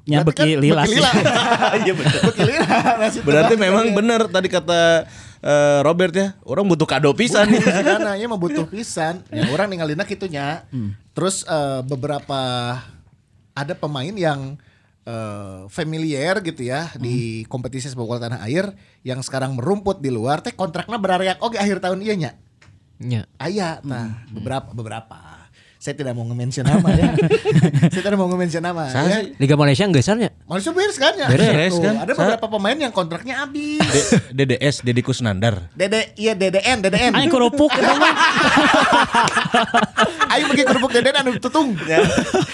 Speaker 4: Nya
Speaker 2: berarti kan
Speaker 4: beki lila
Speaker 2: beki
Speaker 4: sih.
Speaker 2: Iya bener. Beki lila. nasib
Speaker 3: Berarti
Speaker 2: terbaik.
Speaker 3: memang benar tadi kata eh, Robert ya, orang butuh kado
Speaker 2: Kan
Speaker 3: pisan nih.
Speaker 2: Karena ieu mah butuh pisan. Ya
Speaker 3: Hmm.
Speaker 2: orang ningalina kitu nya. Terus eh, beberapa ada pemain yang eh, familiar gitu ya
Speaker 3: Hmm.
Speaker 2: di kompetisi sepak bola tanah air yang sekarang merumput di luar teh kontraknya berareak oke akhir tahun iya nya.
Speaker 5: Ya.
Speaker 2: Aya,
Speaker 3: Hmm.
Speaker 2: nah beberapa beberapa. Saya tidak mau nge-mention nama ya. Saya tidak mau nge-mention nama. ya.
Speaker 5: Liga Malaysia enggak besarnya.
Speaker 2: Malaysia beres kan ya?
Speaker 3: Beres
Speaker 2: Tuh,
Speaker 3: kan?
Speaker 2: Ada beberapa pemain yang kontraknya habis.
Speaker 3: D- DDS Deddy Kusnandar.
Speaker 2: Dede, iya DDN, DDN.
Speaker 4: Aing kerupuk eta mah.
Speaker 2: Ayo pergi kerupuk DDN anu tutung.
Speaker 3: Ya.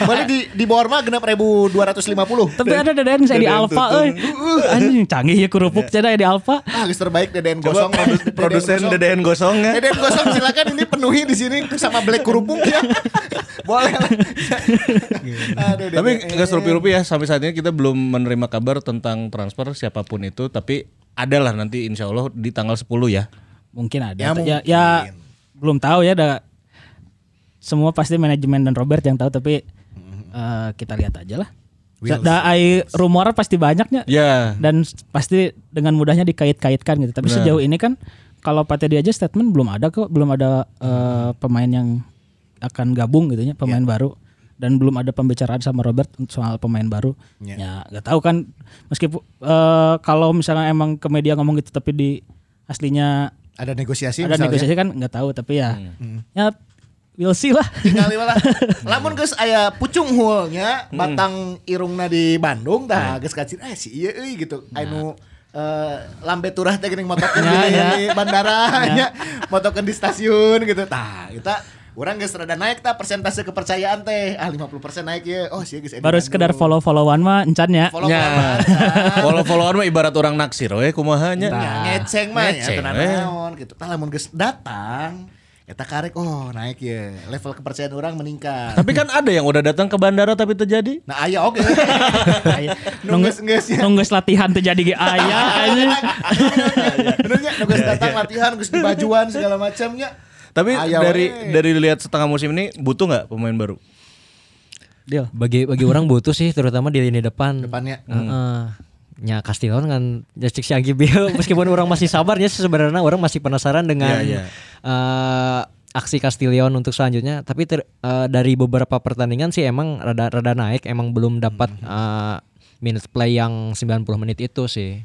Speaker 2: Balik di di bawah mah genap 1250.
Speaker 4: Tapi ada dedean saya di
Speaker 3: Dedean
Speaker 4: Alfa
Speaker 3: tutung.
Speaker 4: euy. Anjing canggih ya kerupuk cenah ya di Alfa.
Speaker 2: Ah, geus terbaik DDN
Speaker 3: Coba
Speaker 2: gosong.
Speaker 3: produ- produsen
Speaker 2: DDN.
Speaker 3: DDN gosong ya.
Speaker 2: DDN gosong silakan ini penuhi di sini sama black kerupuk ya. Boleh lah.
Speaker 3: Iya.
Speaker 2: Aduh, Eh,
Speaker 3: Tapi
Speaker 2: DDN.
Speaker 3: nggak serupi rupiah sampai saat ini kita belum menerima kabar tentang transfer siapapun itu, tapi adalah nanti insya Allah di tanggal 10 ya.
Speaker 4: Mungkin ada.
Speaker 2: Ya,
Speaker 4: Ya,
Speaker 2: mungkin.
Speaker 4: ya, belum tahu ya ada semua pasti manajemen dan Robert yang tahu tapi
Speaker 2: Mm-hmm.
Speaker 4: eh, kita lihat aja lah. Da ai rumor pasti banyaknya.
Speaker 3: Ya.
Speaker 4: dan s- pasti dengan mudahnya dikait-kaitkan gitu. Tapi sejauh ini kan kalau Pate dia aja statement belum ada kok, belum ada eh, pemain yang akan gabung gitu ya, pemain baru dan belum ada pembicaraan sama Robert soal pemain baru. Ya nggak tahu kan meskipun eh, kalau misalnya emang ke media ngomong gitu tapi di aslinya
Speaker 2: ada negosiasi
Speaker 4: ada
Speaker 2: misalnya.
Speaker 4: negosiasi kan nggak tahu tapi ya ya we'll see lah.
Speaker 2: Tinggal lah. Lamun geus aya pucung hulnya batang irungna di Bandung tah geus kacir eh si ieu euy gitu. Anu eh, lambe turah teh geuning motokeun
Speaker 4: Ya,
Speaker 2: di,
Speaker 4: ya.
Speaker 2: di bandara nya, motokeun di stasiun gitu tah. Kita urang geus rada naik tah persentase kepercayaan teh. Ah 50% naik ya. Oh si ieu geus
Speaker 4: Baru sekedar follow-followan mah encan ya.
Speaker 2: follow
Speaker 3: Ya. Follow followan mah ibarat orang naksir we kumaha nya.
Speaker 2: Ya, ngeceng mah ya
Speaker 3: Ngeceng,
Speaker 2: tenang
Speaker 3: eh.
Speaker 2: naon gitu. Tah lamun geus datang eta karek oh naik ya. Level kepercayaan orang meningkat.
Speaker 3: Tapi kan ada yang udah datang ke bandara tapi terjadi.
Speaker 2: Nah aya oke.
Speaker 4: Nunggu
Speaker 2: Nunggus nunggus ya.
Speaker 4: nunggu latihan terjadi ge ayah kayaknya.
Speaker 2: Benernya nunggus datang latihan, nunggus di bajuan segala macamnya.
Speaker 3: Tapi
Speaker 2: Aya
Speaker 3: dari
Speaker 2: we.
Speaker 3: dari lihat setengah musim ini butuh nggak pemain baru?
Speaker 4: Deal.
Speaker 5: Bagi bagi orang butuh sih terutama di lini depan.
Speaker 2: depannya
Speaker 5: Heeh. Ya Castillon kan Justin Siangi Bill meskipun orang masih sabar ya sebenarnya orang masih penasaran dengan
Speaker 3: Iya, iya.
Speaker 5: eh, aksi Castillon untuk selanjutnya tapi ter- eh, dari beberapa pertandingan sih emang rada rada naik emang belum dapat
Speaker 3: Hmm.
Speaker 5: eh, minute play yang 90 menit itu sih.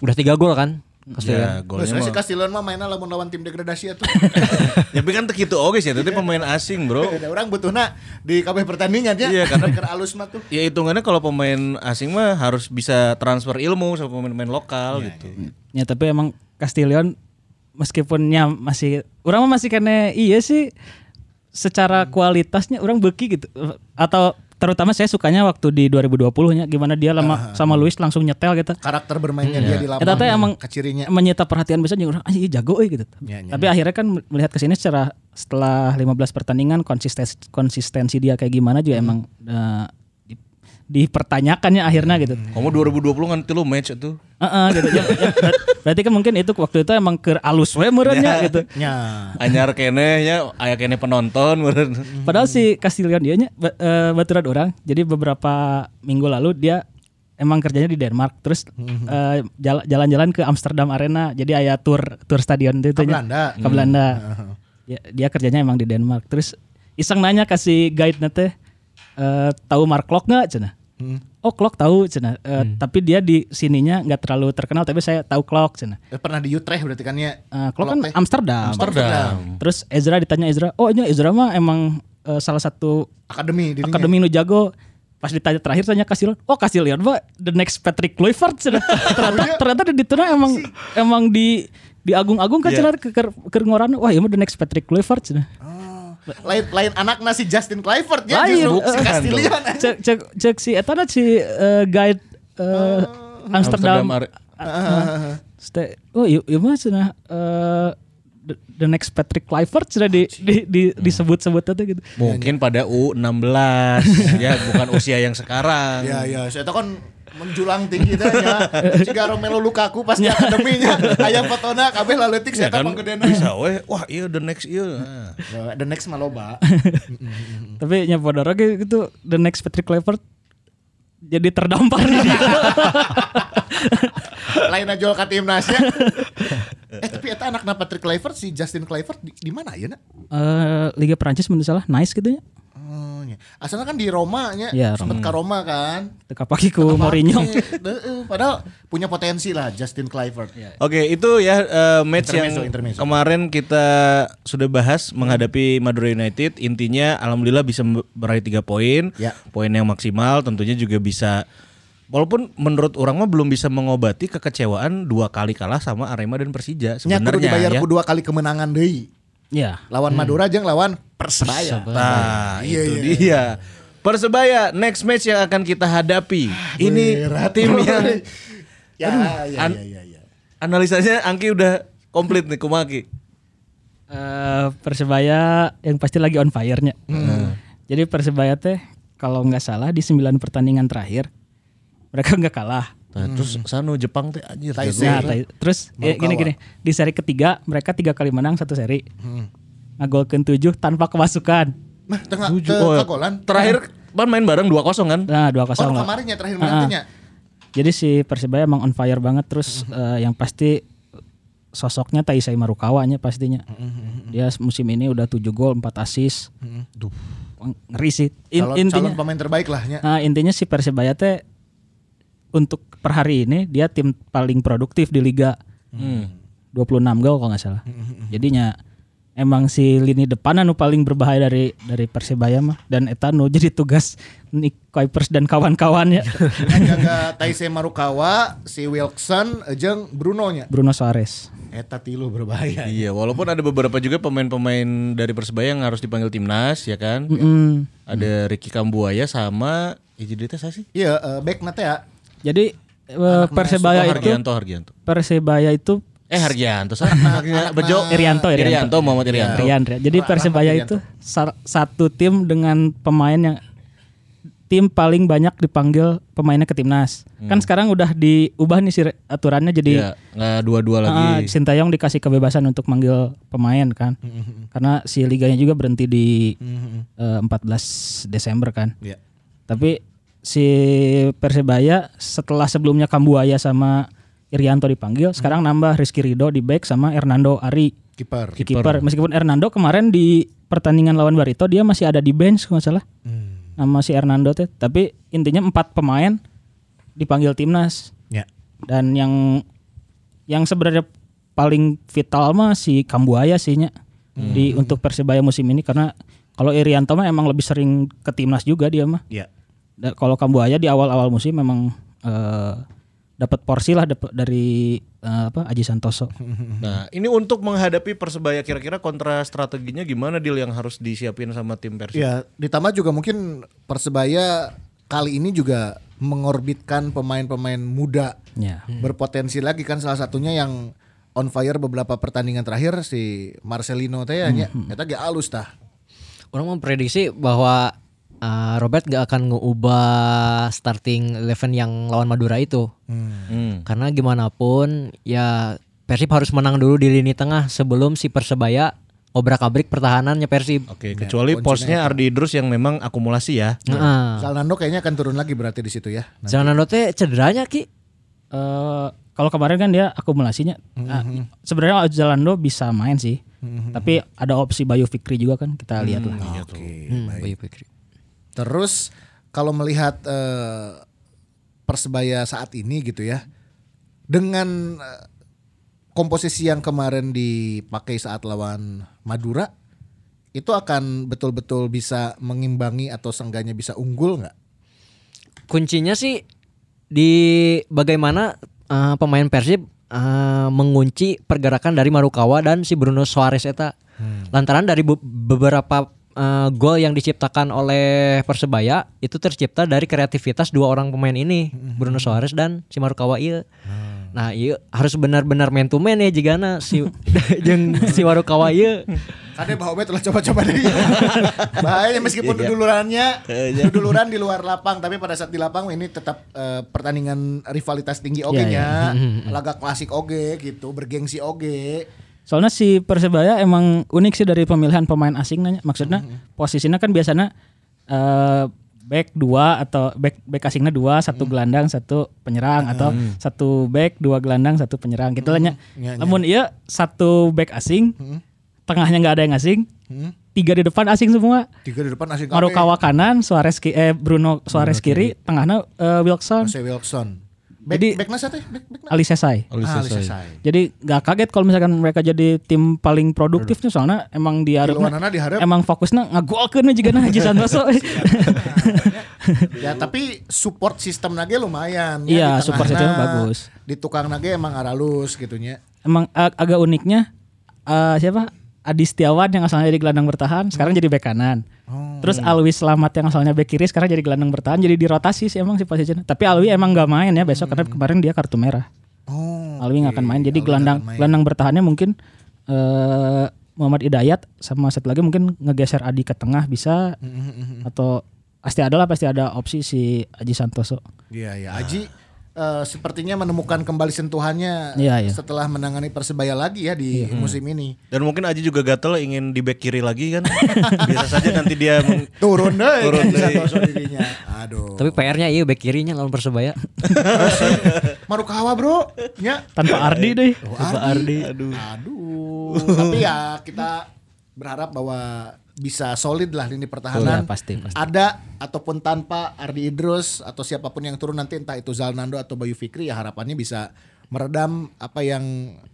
Speaker 5: Udah tiga gol kan Castillon.
Speaker 3: Ya, golnya
Speaker 2: Biasanya si
Speaker 3: mah.
Speaker 2: Castilon mah mainnya lamun lawan tim degradasi ya, itu.
Speaker 3: Tapi kan teu kitu oge sih, tapi pemain asing, Bro.
Speaker 2: Ada orang butuhna di kabeh pertandingan ya.
Speaker 3: Iya, karena-
Speaker 2: ker alus mah tuh.
Speaker 3: Ya hitungannya kalau pemain asing mah harus bisa transfer ilmu sama pemain-pemain lokal gitu.
Speaker 4: Ya tapi emang Castillion meskipunnya masih orang mah masih kene iya sih secara kualitasnya orang beki gitu atau terutama saya sukanya waktu di 2020 nya gimana dia lama sama Luis langsung nyetel gitu.
Speaker 2: Karakter bermainnya dia di
Speaker 4: Eta
Speaker 2: lapangan.
Speaker 4: teh Eh, emang
Speaker 2: kacirinya.
Speaker 4: menyita perhatian besar jeung orang ah iya jago euy gitu.
Speaker 2: Ya, ya.
Speaker 4: Tapi akhirnya kan melihat ke sini secara Hmm. setelah 15 pertandingan konsistensi konsistensi dia kayak gimana juga emang eh, di- dipertanyakannya akhirnya gitu.
Speaker 3: Kamu 2020 kan lo match itu.
Speaker 4: Heeh, gitu. Ya, ya, ber- berarti kan mungkin itu waktu itu emang ke alus we meureunnya
Speaker 2: Ya.
Speaker 4: gitu.
Speaker 2: Nya.
Speaker 3: Anyar kene nya aya kene penonton meureun.
Speaker 4: Padahal si Castillion dia nya ba- eh, baturan orang. Jadi beberapa minggu lalu dia emang kerjanya di Denmark terus
Speaker 2: Mhm.
Speaker 4: eh, jala- jalan-jalan ke Amsterdam Arena. Jadi aya tour tour stadion itu
Speaker 2: Ke
Speaker 4: nya.
Speaker 2: Belanda. Hmm.
Speaker 4: Ke Belanda. Ya, dia kerjanya emang di Denmark. Terus iseng nanya ke si guide nate eh tahu Mark Klok nggak cenah?
Speaker 2: Hmm.
Speaker 4: Oh Klok tahu cenah. Eh, Tapi dia di sininya nggak terlalu terkenal. Tapi saya tahu Klok cenah.
Speaker 2: Eh, Pernah di Utrecht berarti kan ya.
Speaker 4: Eh, Klok kan
Speaker 2: teh.
Speaker 4: Amsterdam.
Speaker 2: Amsterdam.
Speaker 4: Terus Ezra ditanya Ezra, oh ini Ezra mah emang eh, salah satu
Speaker 2: Akademi di
Speaker 4: akademi nu jago. Pas ditanya terakhir tanya Kasilion, oh Kasilion mah the next Patrick Kluivert cenah. ternyata ternyata di dituna emang emang di diagung-agung kan cenah ke, ke, ke ngoran, wah ieu mah the next Patrick Kluivert cenah.
Speaker 2: lain lain anak nasi Justin Clifford ya justru si
Speaker 4: eh,
Speaker 2: Castillion.
Speaker 4: cek cek cek si eta na si eh, guide eh, Amsterdam.
Speaker 3: Amsterdam are-
Speaker 4: Ah, ste- oh iya iya mah cenah eh, the- the next Patrick Kluivert cenah di, di, di, disebut-sebut eta gitu.
Speaker 3: Mungkin pada U16 ya bukan usia yang sekarang.
Speaker 2: Ya ya, saya tahu kan menjulang tinggi teh nya. Jika Romelu Lukaku pas di akademinya aya fotona kabeh laleutik saya
Speaker 3: Ya kan
Speaker 2: tahu panggedena.
Speaker 3: bisa we. Wah, iya the next iya. Nah.
Speaker 2: Eh, The next maloba. Hmm.
Speaker 4: Tapi nya bodoh ge gitu the next Patrick Kluivert jadi terdampar Eh, di situ.
Speaker 2: lain aja ka timnasnya. Eh tapi eta anak Patrick Clifford si Justin Clifford di, di mana ya nak?
Speaker 4: Eh, Liga Prancis menurut salah nice gitu ya.
Speaker 2: Oh, nya. Asalnya kan di Roma nya,
Speaker 4: Ya,
Speaker 2: sempet ka Roma kan.
Speaker 4: Teka pagi ku Mourinho.
Speaker 2: Pake, heeh, Padahal punya potensi lah Justin Clifford.
Speaker 3: Oke, itu ya eh, match
Speaker 2: Intermezzo,
Speaker 3: yang
Speaker 2: intermezzo.
Speaker 3: kemarin kita sudah bahas menghadapi Madura United. Intinya alhamdulillah bisa me- meraih tiga poin.
Speaker 2: Ya.
Speaker 3: Poin yang maksimal tentunya juga bisa walaupun menurut orang mah belum bisa mengobati kekecewaan dua kali kalah sama Arema dan Persija
Speaker 2: Nya kudu
Speaker 3: sebenarnya
Speaker 2: dibayar
Speaker 3: ya.
Speaker 2: ku dua kali kemenangan deui.
Speaker 4: Ya.
Speaker 2: Lawan Madura jeung lawan Persebaya. Iya,
Speaker 3: Nah, itu dia. Persebaya next match yang akan kita hadapi. Ini tim yang
Speaker 2: Ya, ya,
Speaker 3: an-
Speaker 2: ya, ya, ya.
Speaker 3: analisanya Angki udah komplit nih Kumaki.
Speaker 4: Eh, Persebaya yang pasti lagi on fire-nya.
Speaker 2: Hmm.
Speaker 4: Jadi Persebaya teh kalau nggak salah di 9 pertandingan terakhir mereka nggak kalah.
Speaker 3: Nah, terus sano Jepang teh anjir.
Speaker 4: Nah, tai- terus eh, gini gini di seri ketiga mereka tiga kali menang satu seri.
Speaker 2: Hmm.
Speaker 4: Ngagolkeun 7 tanpa kemasukan.
Speaker 2: Nah, tengah
Speaker 3: Tujuh.
Speaker 2: teu
Speaker 3: Oh, ya.
Speaker 2: kagolan.
Speaker 3: Terakhir ban main bareng 2-0 kan?
Speaker 4: Nah, 2-0
Speaker 2: Oh,
Speaker 4: lah.
Speaker 2: kemarin ya terakhir
Speaker 4: Ah, ah.
Speaker 2: menantunya.
Speaker 4: Jadi si Persebaya emang on fire banget terus
Speaker 2: Hmm.
Speaker 4: eh, yang pasti sosoknya Taisai Marukawanya pastinya.
Speaker 2: Hmm,
Speaker 4: Dia musim ini udah 7 gol, 4 assist. Duh. Ngeri sih. In-
Speaker 2: Hmm. Calon,
Speaker 4: intinya
Speaker 2: calon pemain terbaik lah ya. nya.
Speaker 4: nah, intinya si Persebaya teh untuk per hari ini dia tim paling produktif di liga. 26 gol kalau nggak salah. Jadinya emang si lini depan anu paling berbahaya dari dari Persebaya mah dan Etano jadi tugas Nick Kuipers dan ya. kawan-kawannya.
Speaker 2: Jaga Taise Marukawa, si Wilson, jeung Bruno nya.
Speaker 4: Bruno Suarez.
Speaker 2: Eta tilu berbahaya.
Speaker 3: Iya, walaupun ada beberapa juga pemain-pemain dari Persebaya yang harus dipanggil timnas ya kan.
Speaker 4: Mm.
Speaker 3: Ada Ricky Kambuaya sama ya Ijidita saya sih.
Speaker 2: Iya, eh, back nate ya.
Speaker 4: Jadi eh,
Speaker 3: Oh,
Speaker 4: Persebaya itu
Speaker 3: Hargianto, Hargianto.
Speaker 4: Persebaya itu
Speaker 3: Eh Hargianto, salah. Bejo.
Speaker 4: Irianto, Irianto.
Speaker 3: Irianto, Muhammad Irianto.
Speaker 4: Rian, Rian. Jadi Persebaya itu sa- satu tim dengan pemain yang tim paling banyak dipanggil pemainnya ke timnas. Kan sekarang udah diubah nih si re- aturannya jadi
Speaker 3: Iya, nggak dua-dua lagi.
Speaker 4: Ah, Sintayong dikasih kebebasan untuk manggil pemain kan. Karena si liganya juga berhenti di eh, 14 Desember kan.
Speaker 2: Iya.
Speaker 4: Tapi si Persebaya setelah sebelumnya Kambuaya sama Irianto dipanggil, sekarang nambah Rizky Rido di back sama Hernando Ari
Speaker 2: Kiper.
Speaker 4: di kiper. Meskipun Hernando kemarin di pertandingan lawan Barito dia masih ada di bench kalau nggak salah. Nama si Hernando teh, tapi intinya empat pemain dipanggil timnas
Speaker 2: Ya.
Speaker 4: dan yang yang sebenarnya paling vital mah si Kambuaya sih nya di untuk Persebaya musim ini karena kalau Irianto mah emang lebih sering ke timnas juga dia mah.
Speaker 2: Iya.
Speaker 4: Da- kalau Kambuaya di awal-awal musim memang eh, dapat porsi lah dap- dari eh, apa Aji Santoso.
Speaker 3: Nah, ini untuk menghadapi Persebaya kira-kira kontra strateginya gimana deal yang harus disiapin sama tim Persib?
Speaker 2: Ya, ditambah juga mungkin Persebaya kali ini juga mengorbitkan pemain-pemain muda
Speaker 4: Ya.
Speaker 2: berpotensi lagi kan salah satunya yang on fire beberapa pertandingan terakhir
Speaker 4: Hmm.
Speaker 2: si Marcelino teh ya nya. eta ge ya. alus tah.
Speaker 5: Orang memprediksi bahwa eh, Robert gak akan ngeubah starting eleven yang lawan Madura itu.
Speaker 3: Hmm.
Speaker 5: Karena gimana pun ya Persib harus menang dulu di lini tengah sebelum si Persebaya obrak-abrik pertahanannya Persib.
Speaker 3: Oke, kecuali posnya Ardi Idrus yang memang akumulasi ya.
Speaker 5: Heeh.
Speaker 2: Salnando kayaknya akan turun lagi berarti di situ ya. Nah,
Speaker 5: Jangan teh cederanya Ki.
Speaker 4: Eh, kalau kemarin kan dia akumulasinya nah,
Speaker 2: Mhm.
Speaker 4: sebenarnya Jalando bisa main sih. Tapi ada opsi Bayu Fikri juga kan
Speaker 2: Mhm.
Speaker 4: kita lihat lah.
Speaker 2: Nah.
Speaker 3: Iya,
Speaker 5: Hmm, Bayu Fikri.
Speaker 2: Terus kalau melihat eh, persebaya saat ini gitu ya, dengan eh, komposisi yang kemarin dipakai saat lawan Madura, itu akan betul-betul bisa mengimbangi atau seenggaknya bisa unggul nggak?
Speaker 5: kuncinya sih di bagaimana eh, pemain Persib eh, mengunci pergerakan dari Marukawa dan si Bruno Suarez eta. Lantaran dari be- beberapa eh, gol yang diciptakan oleh Persebaya itu tercipta dari kreativitas dua orang pemain ini, Bruno Suarez dan si Marukawa ieu. Nah, ieu harus benar-benar man to man ya jigana si jeung si Marukawa iya. ieu.
Speaker 2: Ada bahwa telah coba-coba deh. Bahayanya meskipun dulurannya duluran di luar lapang, tapi pada saat di lapang ini tetap eh, pertandingan rivalitas tinggi oge
Speaker 4: Iya,
Speaker 2: nya,
Speaker 4: Hmm,
Speaker 2: laga klasik oge gitu, bergengsi oge.
Speaker 4: Soalnya si Persebaya emang unik sih dari pemilihan pemain asing nanya. Maksudnya
Speaker 2: Mhm.
Speaker 4: posisinya kan biasanya eh, back dua atau back back asingnya
Speaker 2: Mhm.
Speaker 4: dua, satu gelandang, satu penyerang atau satu back, dua gelandang, satu penyerang. Gitu lah nya.
Speaker 2: Iya, Mhm. iya.
Speaker 4: Namun iya satu back asing, tengahnya nggak ada yang asing,
Speaker 2: Mhm.
Speaker 4: tiga di depan asing semua.
Speaker 2: Tiga di depan asing
Speaker 4: Marukawa kanan, Suarez ki- eh Bruno Suarez kiri, tengahnya eh, Wilson,
Speaker 2: Jose Wilson. Back,
Speaker 4: Jadi-
Speaker 2: back nasa teh, back, back na.
Speaker 4: Ali Sesai.
Speaker 3: Oleh
Speaker 2: Ah,
Speaker 3: selesai.
Speaker 2: selesai.
Speaker 4: Jadi nggak kaget kalau misalkan mereka jadi tim paling produktif nih soalnya emang di
Speaker 2: luarana diharap.
Speaker 4: emang fokusnya ngagolkeun juga nah Haji Santoso.
Speaker 2: Ya tapi support sistem nage lumayan. ya,
Speaker 4: Iya,
Speaker 2: di
Speaker 4: support
Speaker 2: tengahna,
Speaker 4: sistemnya bagus.
Speaker 2: Di tukang nage emang aralus gitunya.
Speaker 4: emang ag- agak uniknya eh, siapa? Adi Setiawan yang asalnya jadi gelandang bertahan sekarang jadi bek kanan. Terus Alwi Selamat yang asalnya bek kiri sekarang jadi gelandang bertahan jadi dirotasi sih emang si posisinya. Tapi Alwi emang nggak main ya besok karena kemarin dia kartu merah.
Speaker 2: Oh,
Speaker 4: Alwi nggak akan main. Jadi gelandang gelandang bertahannya mungkin eh Muhammad Hidayat sama satu lagi mungkin ngegeser Adi ke tengah bisa atau pasti ada lah pasti ada opsi si Aji Santoso.
Speaker 2: iya ya. Aji eh, sepertinya menemukan kembali sentuhannya
Speaker 4: Iya, iya.
Speaker 2: setelah menangani persebaya lagi ya di musim ini.
Speaker 3: Dan mungkin Aji juga gatel ingin di back kiri lagi kan. Bisa saja nanti dia meng-
Speaker 2: Turun deh,
Speaker 3: Turun
Speaker 2: kan,
Speaker 3: deui.
Speaker 2: Santoso dirinya. Aduh.
Speaker 5: Tapi PR-nya ieu back kirinya lawan Persebaya.
Speaker 2: Marukawa bro, ya.
Speaker 4: Tanpa Eh, oh, Ardi deh.
Speaker 2: Ardi. Aduh. Aduh. Tapi ya kita berharap bahwa bisa solid lah lini pertahanan.
Speaker 4: Iya, pasti, pasti.
Speaker 2: Ada ataupun tanpa Ardi Idrus atau siapapun yang turun nanti entah itu Zalnando atau Bayu Fikri ya harapannya bisa meredam apa yang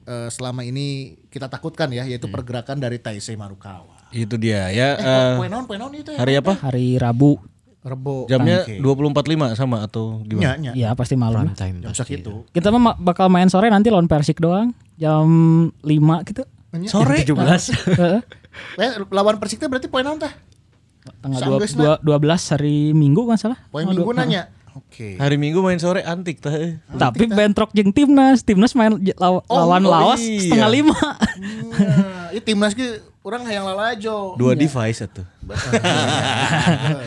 Speaker 2: eh, selama ini kita takutkan ya yaitu
Speaker 4: Hmm.
Speaker 2: pergerakan dari Taisei Marukawa.
Speaker 3: Itu dia ya.
Speaker 2: Eh,
Speaker 3: eh,
Speaker 2: poin naon poin naon itu ya?
Speaker 3: hari apa?
Speaker 4: Hari Rabu.
Speaker 2: Rebo.
Speaker 3: Jamnya 24.5 sama atau
Speaker 2: Nya,
Speaker 3: gimana?
Speaker 2: nya.
Speaker 4: Iya pasti malam. lah.
Speaker 5: Time.
Speaker 2: Jam segitu.
Speaker 4: Kita mah ma- bakal main sore nanti lawan Persik doang jam 5 gitu.
Speaker 3: Iya.
Speaker 2: Sore.
Speaker 5: 17.
Speaker 2: Iya,
Speaker 4: Heeh.
Speaker 2: Eh, lawan Persiknya berarti poin naon tah?
Speaker 4: Tanggal
Speaker 2: Sanggeus,
Speaker 4: dua- dua- 12 hari Minggu kan salah.
Speaker 2: Poin
Speaker 4: Oh, dua-
Speaker 2: minggu nanya. Oke.
Speaker 3: Hari Minggu main sore antik tah. eh.
Speaker 4: Tapi bentrok jeung timnas, timnas main j- law- lawan
Speaker 3: oh
Speaker 4: Laos
Speaker 3: iya.
Speaker 4: setengah lima.
Speaker 2: Iya, ieu timnas ge urang hayang lalajo.
Speaker 3: Dua device satu.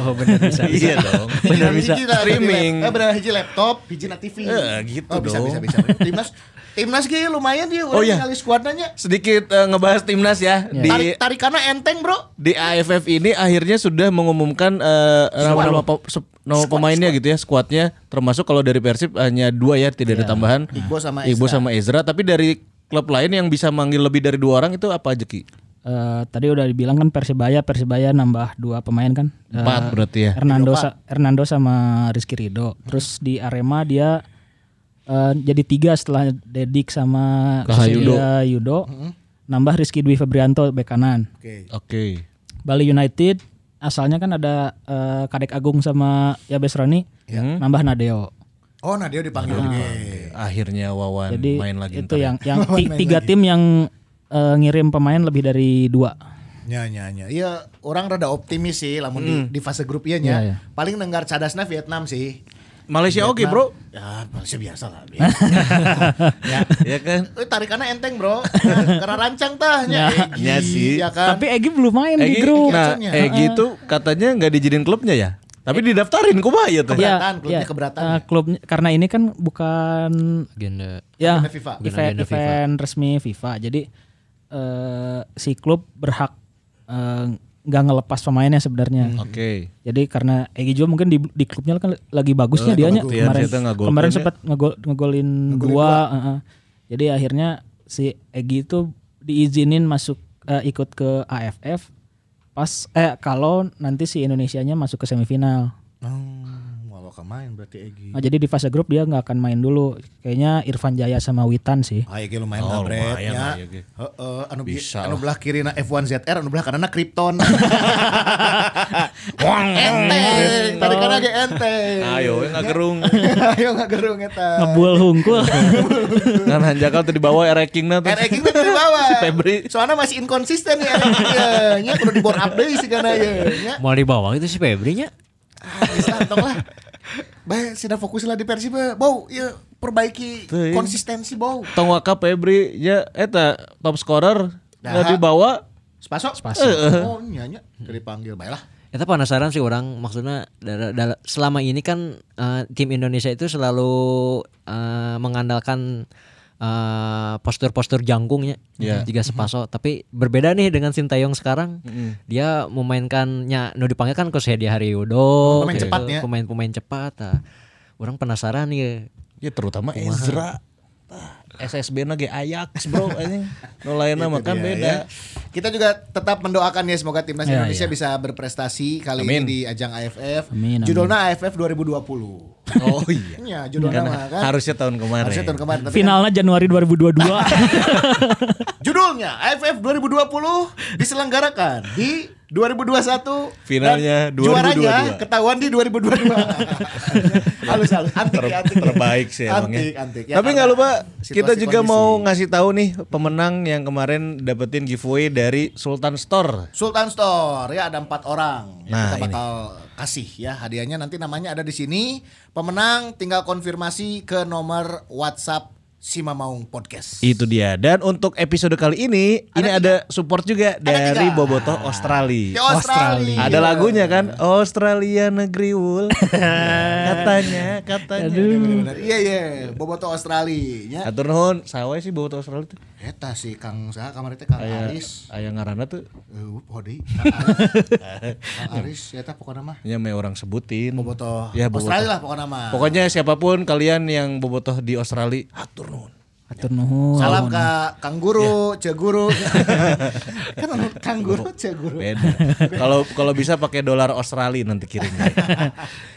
Speaker 5: Oh benar bisa.
Speaker 3: Iya dong.
Speaker 2: Benar
Speaker 5: bisa.
Speaker 3: Streaming.
Speaker 2: Eh benar hiji laptop, hiji na TV.
Speaker 3: Eh, gitu
Speaker 2: oh, bisa,
Speaker 3: dong.
Speaker 2: bisa bisa Timnas timnas ge lumayan dia
Speaker 3: Oh,
Speaker 2: urang
Speaker 3: iya.
Speaker 2: ningali skuadnanya.
Speaker 3: Sedikit eh, ngebahas timnas ya di
Speaker 2: Tarik tarikanna enteng, Bro.
Speaker 3: di AFF ini akhirnya sudah mengumumkan eh, nama-nama pe- se- nama pemainnya gitu ya, skuadnya termasuk kalau dari Persib hanya dua ya, tidak
Speaker 4: Iya.
Speaker 3: ada tambahan.
Speaker 2: Igbo sama
Speaker 3: Ibu sama Ezra, tapi dari klub lain yang bisa manggil lebih dari dua orang itu apa aja Ki?
Speaker 4: Eh, tadi udah dibilang kan Persibaya, Persibaya nambah dua pemain kan. Eh,
Speaker 3: Empat berarti ya.
Speaker 4: Hernando sa- Hernando sama Rizky Rido. Terus di Arema dia eh, jadi tiga setelah Dedik sama
Speaker 3: Kahayudo.
Speaker 4: Cecilia Yudo.
Speaker 3: Mm-hmm.
Speaker 4: Nambah Rizky Dwi Febrianto bek kanan.
Speaker 2: Oke.
Speaker 3: Oke.
Speaker 4: Bali United asalnya kan ada eh, Kadek Agung sama Yabes Roni
Speaker 2: Ya.
Speaker 3: Hmm.
Speaker 4: nambah Nadeo.
Speaker 2: Oh, nah dia dipanggil
Speaker 3: Iya.
Speaker 2: ge.
Speaker 3: Akhirnya Wawan
Speaker 4: Jadi
Speaker 3: Hmm, main lagi
Speaker 4: itu ya.
Speaker 3: ntar. ya.
Speaker 4: yang yang ti- tiga tim yang eh, ngirim pemain lebih dari dua.
Speaker 2: Nya nya nya. Iya,
Speaker 3: Hmm.
Speaker 2: orang rada optimis sih lamun di, di fase grup ieu nya.
Speaker 4: Iya, iya.
Speaker 2: Paling dengar cadasna Vietnam sih.
Speaker 3: Malaysia oke, Bro.
Speaker 2: Ya, Malaysia biasa lah. biasa. ya.
Speaker 3: Ya kan?
Speaker 2: Eh, tarikannya enteng, Bro. Nah, karena rancang tah nya. Egy,
Speaker 3: Ya sih.
Speaker 2: Ya kan?
Speaker 4: Tapi Egi belum main di grup. Eh.
Speaker 3: nah,
Speaker 2: katanya.
Speaker 3: Egi tuh katanya nggak dijadiin klubnya ya. Tapi didaftarin kumaha ya tuh.
Speaker 2: Iya. keberatan, klubnya keberatan.
Speaker 4: eh, klubnya karena ini kan bukan
Speaker 5: Agenda.
Speaker 4: ya
Speaker 2: Agenda FIFA.
Speaker 4: event,
Speaker 5: Agenda FIFA.
Speaker 4: event resmi FIFA. Jadi eh, si klub berhak eh, nggak ngelepas pemainnya sebenarnya.
Speaker 3: Hmm. Oke.
Speaker 4: Jadi karena Egy juga mungkin di, di klubnya kan lagi
Speaker 3: Eh,
Speaker 4: bagusnya dianya
Speaker 3: kebetulan
Speaker 4: kemarin
Speaker 3: ternyata ngegolkan
Speaker 4: kemarin
Speaker 3: ya.
Speaker 4: sempat ngegol, ngegolin dua. heeh. Jadi akhirnya si Egy itu diizinin masuk eh, ikut ke AFF pas eh kalau nanti si Indonesianya masuk ke semifinal.
Speaker 2: Hmm, walau kemain berarti Egy.
Speaker 4: Nah, jadi di fase grup dia nggak akan main dulu. Kayaknya Irfan Jaya sama Witan sih.
Speaker 2: Ah, Egy lumayan
Speaker 3: Oh,
Speaker 2: kabret
Speaker 3: lumayan lah,
Speaker 2: nya.
Speaker 3: Egy.
Speaker 2: Heeh, anu bi-
Speaker 3: Bisa
Speaker 2: anu belah kiri na F1 ZR, anu belah kanan Krypton. enteng, tarikannya ge enteng.
Speaker 3: Ayo, we ngagerung.
Speaker 2: Ayo ngagerung eta.
Speaker 4: Ngebul hungkul.
Speaker 3: Kan hanjakal tuh di bawah erekingna tuh.
Speaker 2: Air Egy teh di bawah.
Speaker 3: Si Febri.
Speaker 2: Soalnya masih inkonsisten ya. Air Egy nya. Nya kudu di bore up deui sigana ye. Nya
Speaker 5: Mau di bawah itu si Febri nya.
Speaker 2: iya. ah, geus lah, tong lah. Bae sida fokus lah di Persib. Bau, ieu perbaiki
Speaker 4: iya.
Speaker 3: Teuing.
Speaker 2: konsistensi bau.
Speaker 3: Tong Waka Febri ya eta top scorer nggak
Speaker 2: Nah.
Speaker 3: dibawa
Speaker 2: Spaso?
Speaker 4: Spaso.
Speaker 2: Oh, nya nya Teu dipanggil bae lah.
Speaker 5: Itu penasaran sih orang maksudnya dara- dara- selama ini kan eh, tim Indonesia itu selalu eh, mengandalkan eh, postur-postur jangkungnya
Speaker 2: Ya.
Speaker 3: Iya.
Speaker 2: Mhm.
Speaker 5: jika sepaso tapi berbeda nih dengan Sintayong sekarang dia memainkannya nu dipanggil kan Coach Hedi Haryodo
Speaker 2: Pemain
Speaker 5: gitu,
Speaker 2: cepat ya.
Speaker 5: pemain-pemain cepat nah. orang penasaran ya
Speaker 3: ya terutama Ezra SSB na ge Ajax bro anjing nu lainna mah kan
Speaker 2: Iya,
Speaker 3: beda
Speaker 2: ya. Kita juga tetap mendoakan ya semoga timnas
Speaker 4: Ya,
Speaker 2: Indonesia
Speaker 4: ya.
Speaker 2: bisa berprestasi kali ini
Speaker 3: Amin.
Speaker 2: di ajang AFF.
Speaker 4: Amin, amin.
Speaker 2: Judulnya AFF 2020.
Speaker 3: oh iya
Speaker 2: Iya, judulnya
Speaker 3: Kan
Speaker 2: mah kan.
Speaker 3: harusnya tahun kemarin.
Speaker 4: ya.
Speaker 2: Harusnya tahun kemarin. tapi
Speaker 4: Finalnya Januari 2022.
Speaker 2: kan judulnya AFF 2020 diselenggarakan di 2021
Speaker 3: Finalnya
Speaker 2: dan juaranya
Speaker 3: 2022.
Speaker 2: ketahuan di 2022 halus halus antik
Speaker 3: Ter-
Speaker 2: ya, antik ya.
Speaker 3: terbaik sih emangnya.
Speaker 2: antik antik Ya,
Speaker 3: Tapi nggak
Speaker 2: karena
Speaker 3: lupa
Speaker 2: situasi
Speaker 3: kita juga
Speaker 2: kondisi.
Speaker 3: mau ngasih tahu nih pemenang yang kemarin dapetin giveaway dari Sultan Store.
Speaker 2: Sultan Store ya ada empat orang.
Speaker 3: Nah,
Speaker 2: kita bakal kasih ya hadiahnya nanti namanya ada di sini. Pemenang tinggal konfirmasi ke nomor WhatsApp Simamaung Podcast.
Speaker 3: Itu dia. Dan untuk episode kali ini ini ada support juga dari
Speaker 2: tiga. Ah. Ya,
Speaker 3: Boboto
Speaker 2: Di
Speaker 3: Australia.
Speaker 2: Australia.
Speaker 3: Ada lagunya kan Australia negeri wool katanya katanya.
Speaker 2: Bener-bener. Iya iya, Boboto Australia. Ya.
Speaker 3: Atur nuhun, sawe sih Boboto Australia tuh.
Speaker 2: Eta si Kang Sa kamari teh Kang
Speaker 3: Aya
Speaker 2: Aris.
Speaker 3: aya ngaranna tuh
Speaker 2: Eh, Hodi. Kang Aris eta pokoknya mah.
Speaker 3: nya me orang sebutin.
Speaker 2: Boboto
Speaker 3: Ya, Bobotoh.
Speaker 2: Australia lah pokoknya mah.
Speaker 3: Pokoknya siapapun kalian yang bobotoh di Australia, atur nuhun.
Speaker 4: Atur nuhun.
Speaker 2: Salam ke Kang
Speaker 3: Ya.
Speaker 2: Guru, Ce Guru. kan Kang Guru, Ce Guru.
Speaker 3: Beda. Kalau kalau bisa pakai dolar Australia nanti kirim.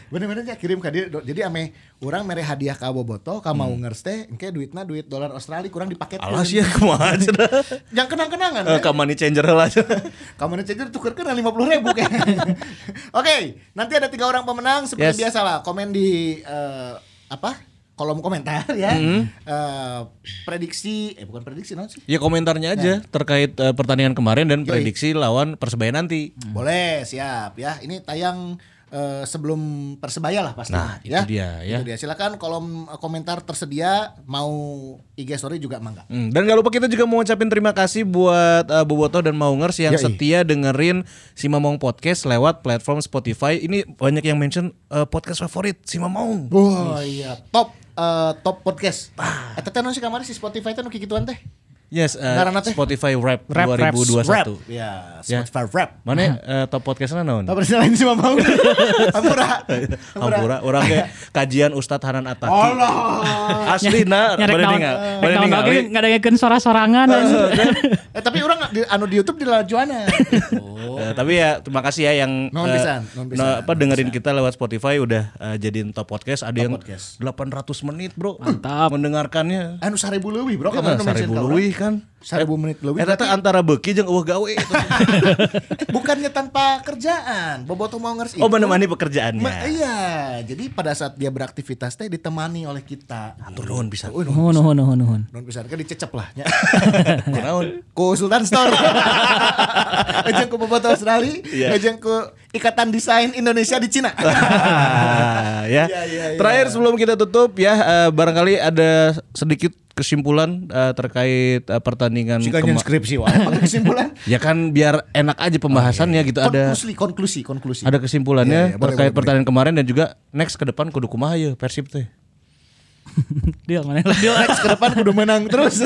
Speaker 2: Bener-bener ya kirim ke dia. Do- Jadi ame orang mere hadiah ka Boboto, ka mau ngers teh engke duitna duit dolar Australia kurang dipaket.
Speaker 3: Hmm. Alas ya kumaha cenah.
Speaker 2: Yang kenang-kenangan.
Speaker 3: Eh, Ka money changer lah.
Speaker 2: Kamu cecer tuker kan lima puluh ribu kan. Oke, nanti ada tiga orang pemenang seperti
Speaker 3: Yes.
Speaker 2: biasa lah. Komen di eh, apa? Kolom komentar ya.
Speaker 3: Hmm.
Speaker 2: Eh, prediksi, eh bukan prediksi non sih.
Speaker 3: Ya komentarnya aja terkait eh, pertandingan kemarin dan
Speaker 2: Nah. Yoi.
Speaker 3: prediksi lawan Persebaya nanti.
Speaker 2: Boleh, siap ya. Ini tayang eh, sebelum persebaya lah pasti.
Speaker 3: Nah, itu
Speaker 2: ya.
Speaker 3: dia, ya.
Speaker 2: Itu dia. Silakan kolom eh, komentar tersedia mau IG story juga mangga.
Speaker 3: Hmm, Dan gak lupa kita juga mau ucapin terima kasih buat eh, Bobotoh dan Maungers
Speaker 2: Yoi.
Speaker 3: yang setia dengerin si Mamong Podcast lewat platform Spotify. Ini banyak yang mention eh, podcast favorit si Mamong.
Speaker 2: Wah, iya, top eh, top podcast. Eta teh naon sih kamari si Spotify teh nu kikituan teh.
Speaker 3: Yes, eh,
Speaker 2: Ngarana teh?
Speaker 3: Spotify Rap,
Speaker 4: Rap, rap,
Speaker 3: 2021.
Speaker 2: Ya,
Speaker 3: Ya.
Speaker 2: Spotify rap.
Speaker 3: Mana eh, top podcastnya naon?
Speaker 2: Tapi selain si Mamau. Hampura.
Speaker 3: Hampura, orang kayak kajian Ustadz Hanan Ataki.
Speaker 2: Allah.
Speaker 3: Asli na,
Speaker 4: Nyerek
Speaker 3: bade
Speaker 4: naon-
Speaker 3: ningal,
Speaker 4: rek
Speaker 3: bade
Speaker 4: naon
Speaker 3: ningal.
Speaker 4: oge ngadengekeun sorak-sorangan.
Speaker 2: Eh tapi orang di, anu di YouTube di lajuana.
Speaker 3: Eh, tapi ya terima kasih ya yang
Speaker 2: Nuhun
Speaker 3: eh,
Speaker 2: pisan, nuhun pisan,
Speaker 3: no- apa
Speaker 2: nuhun
Speaker 3: dengerin kita lewat Spotify udah eh, jadiin top podcast ada yang
Speaker 2: podcast.
Speaker 3: 800 menit bro
Speaker 4: Mantap.
Speaker 3: mendengarkannya
Speaker 2: Anu 1000 leuwih, Bro.
Speaker 3: Ya,
Speaker 2: Kemarin nu mention Eh,
Speaker 3: seribu
Speaker 2: ka urang.
Speaker 3: leuwih kan.
Speaker 2: Seribu menit lebih.
Speaker 3: Eta teh antara beki jeung eueuh gawe.
Speaker 2: Bukannya tanpa kerjaan, Bobotoh mau ngerti.
Speaker 3: Oh menemani pekerjaannya.
Speaker 2: Ma- iya, jadi pada saat dia beraktivitas teh ditemani oleh kita.
Speaker 3: Ah,
Speaker 2: Atur nuhun bisa. Nuhun
Speaker 4: Nuhun nuhun nuhun nuhun.
Speaker 2: nuhun pisan kan dicecep lah nya.
Speaker 3: Kunaon?
Speaker 2: ku Sultan Store. Ajeng ku Bobotoh Australia,
Speaker 3: Iya.
Speaker 2: ajeng ku Ikatan Desain Indonesia di Cina.
Speaker 3: Ah,
Speaker 2: Iya,
Speaker 3: ya.
Speaker 2: iya, iya.
Speaker 3: Terakhir sebelum kita tutup ya eh, barangkali ada sedikit kesimpulan eh, terkait eh, pertandingan
Speaker 2: Jika
Speaker 3: kema-
Speaker 2: skripsi wah. Apa kesimpulan?
Speaker 3: Ya kan biar enak aja
Speaker 2: Oh,
Speaker 3: pembahasannya
Speaker 2: iya.
Speaker 3: gitu ada
Speaker 2: Konklusi, konklusi, konklusi.
Speaker 3: ada
Speaker 2: Iya,
Speaker 3: kesimpulannya
Speaker 2: iya, boleh,
Speaker 3: terkait
Speaker 2: boleh,
Speaker 3: pertandingan kemarin dan juga next ke depan kudu kumaha ya Persib teh.
Speaker 4: Deal mana? Deal.
Speaker 2: Next ke depan kudu menang terus.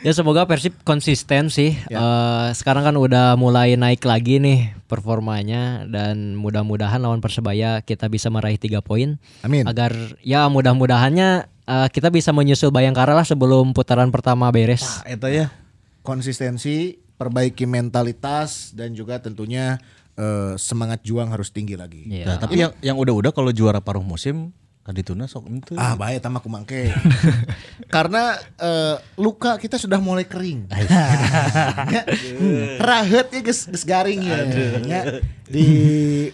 Speaker 5: Ya semoga Persib konsisten sih. Eh, sekarang kan udah mulai naik lagi nih performanya dan mudah-mudahan lawan Persebaya kita bisa meraih tiga poin.
Speaker 2: Amin.
Speaker 5: Agar ya mudah-mudahannya eh, kita bisa menyusul Bayangkara lah sebelum putaran pertama beres.
Speaker 3: Ah, Eta ya.
Speaker 2: konsistensi, perbaiki mentalitas dan juga tentunya eh, semangat juang harus tinggi lagi.
Speaker 5: Iya.
Speaker 3: Nah, tapi yang yang udah-udah kalau juara paruh musim kadituna sok itu.
Speaker 2: Ah, bahaya tamak kumangke. Karena eh, luka kita sudah mulai kering. Ya, Rahet ya geus geus garing ya. Ya, Di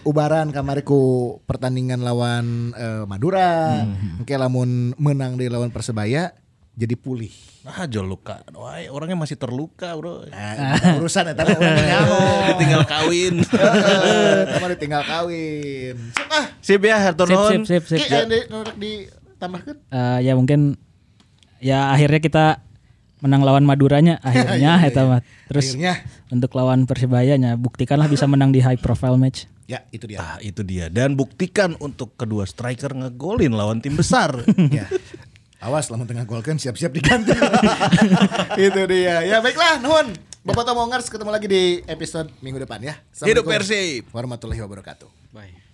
Speaker 2: ubaran kamari ku pertandingan lawan eh, Madura, engke lamun menang di lawan Persebaya jadi pulih.
Speaker 3: Nah, jol luka. Wah, orangnya masih terluka, Bro.
Speaker 2: Nah, urusan eta mah urang nyaho.
Speaker 3: Tinggal kawin.
Speaker 2: Heeh, kamari tinggal kawin. Sok ah.
Speaker 3: Sip ya, hatur
Speaker 4: Sip,
Speaker 3: nuhun.
Speaker 4: sip, sip, sip.
Speaker 2: Ki, aya di- nu rek ditambahkeun.
Speaker 4: Eh, ya mungkin ya akhirnya kita menang lawan Maduranya akhirnya eta mah. Terus
Speaker 2: Akhirnya.
Speaker 4: untuk lawan Persebayanya buktikanlah bisa menang di high profile match.
Speaker 2: Ya, itu dia.
Speaker 3: Ah, itu dia. Dan buktikan untuk kedua striker ngegolin lawan tim besar.
Speaker 2: ya. Awas lamun tengah golkan siap-siap diganti. Itu dia. Ya baiklah, nuhun. Bapak Tomongers ketemu lagi di episode minggu depan ya.
Speaker 3: Hidup
Speaker 2: Assalamualaikum
Speaker 3: Persib.
Speaker 2: Warahmatullahi wabarakatuh.
Speaker 5: Bye.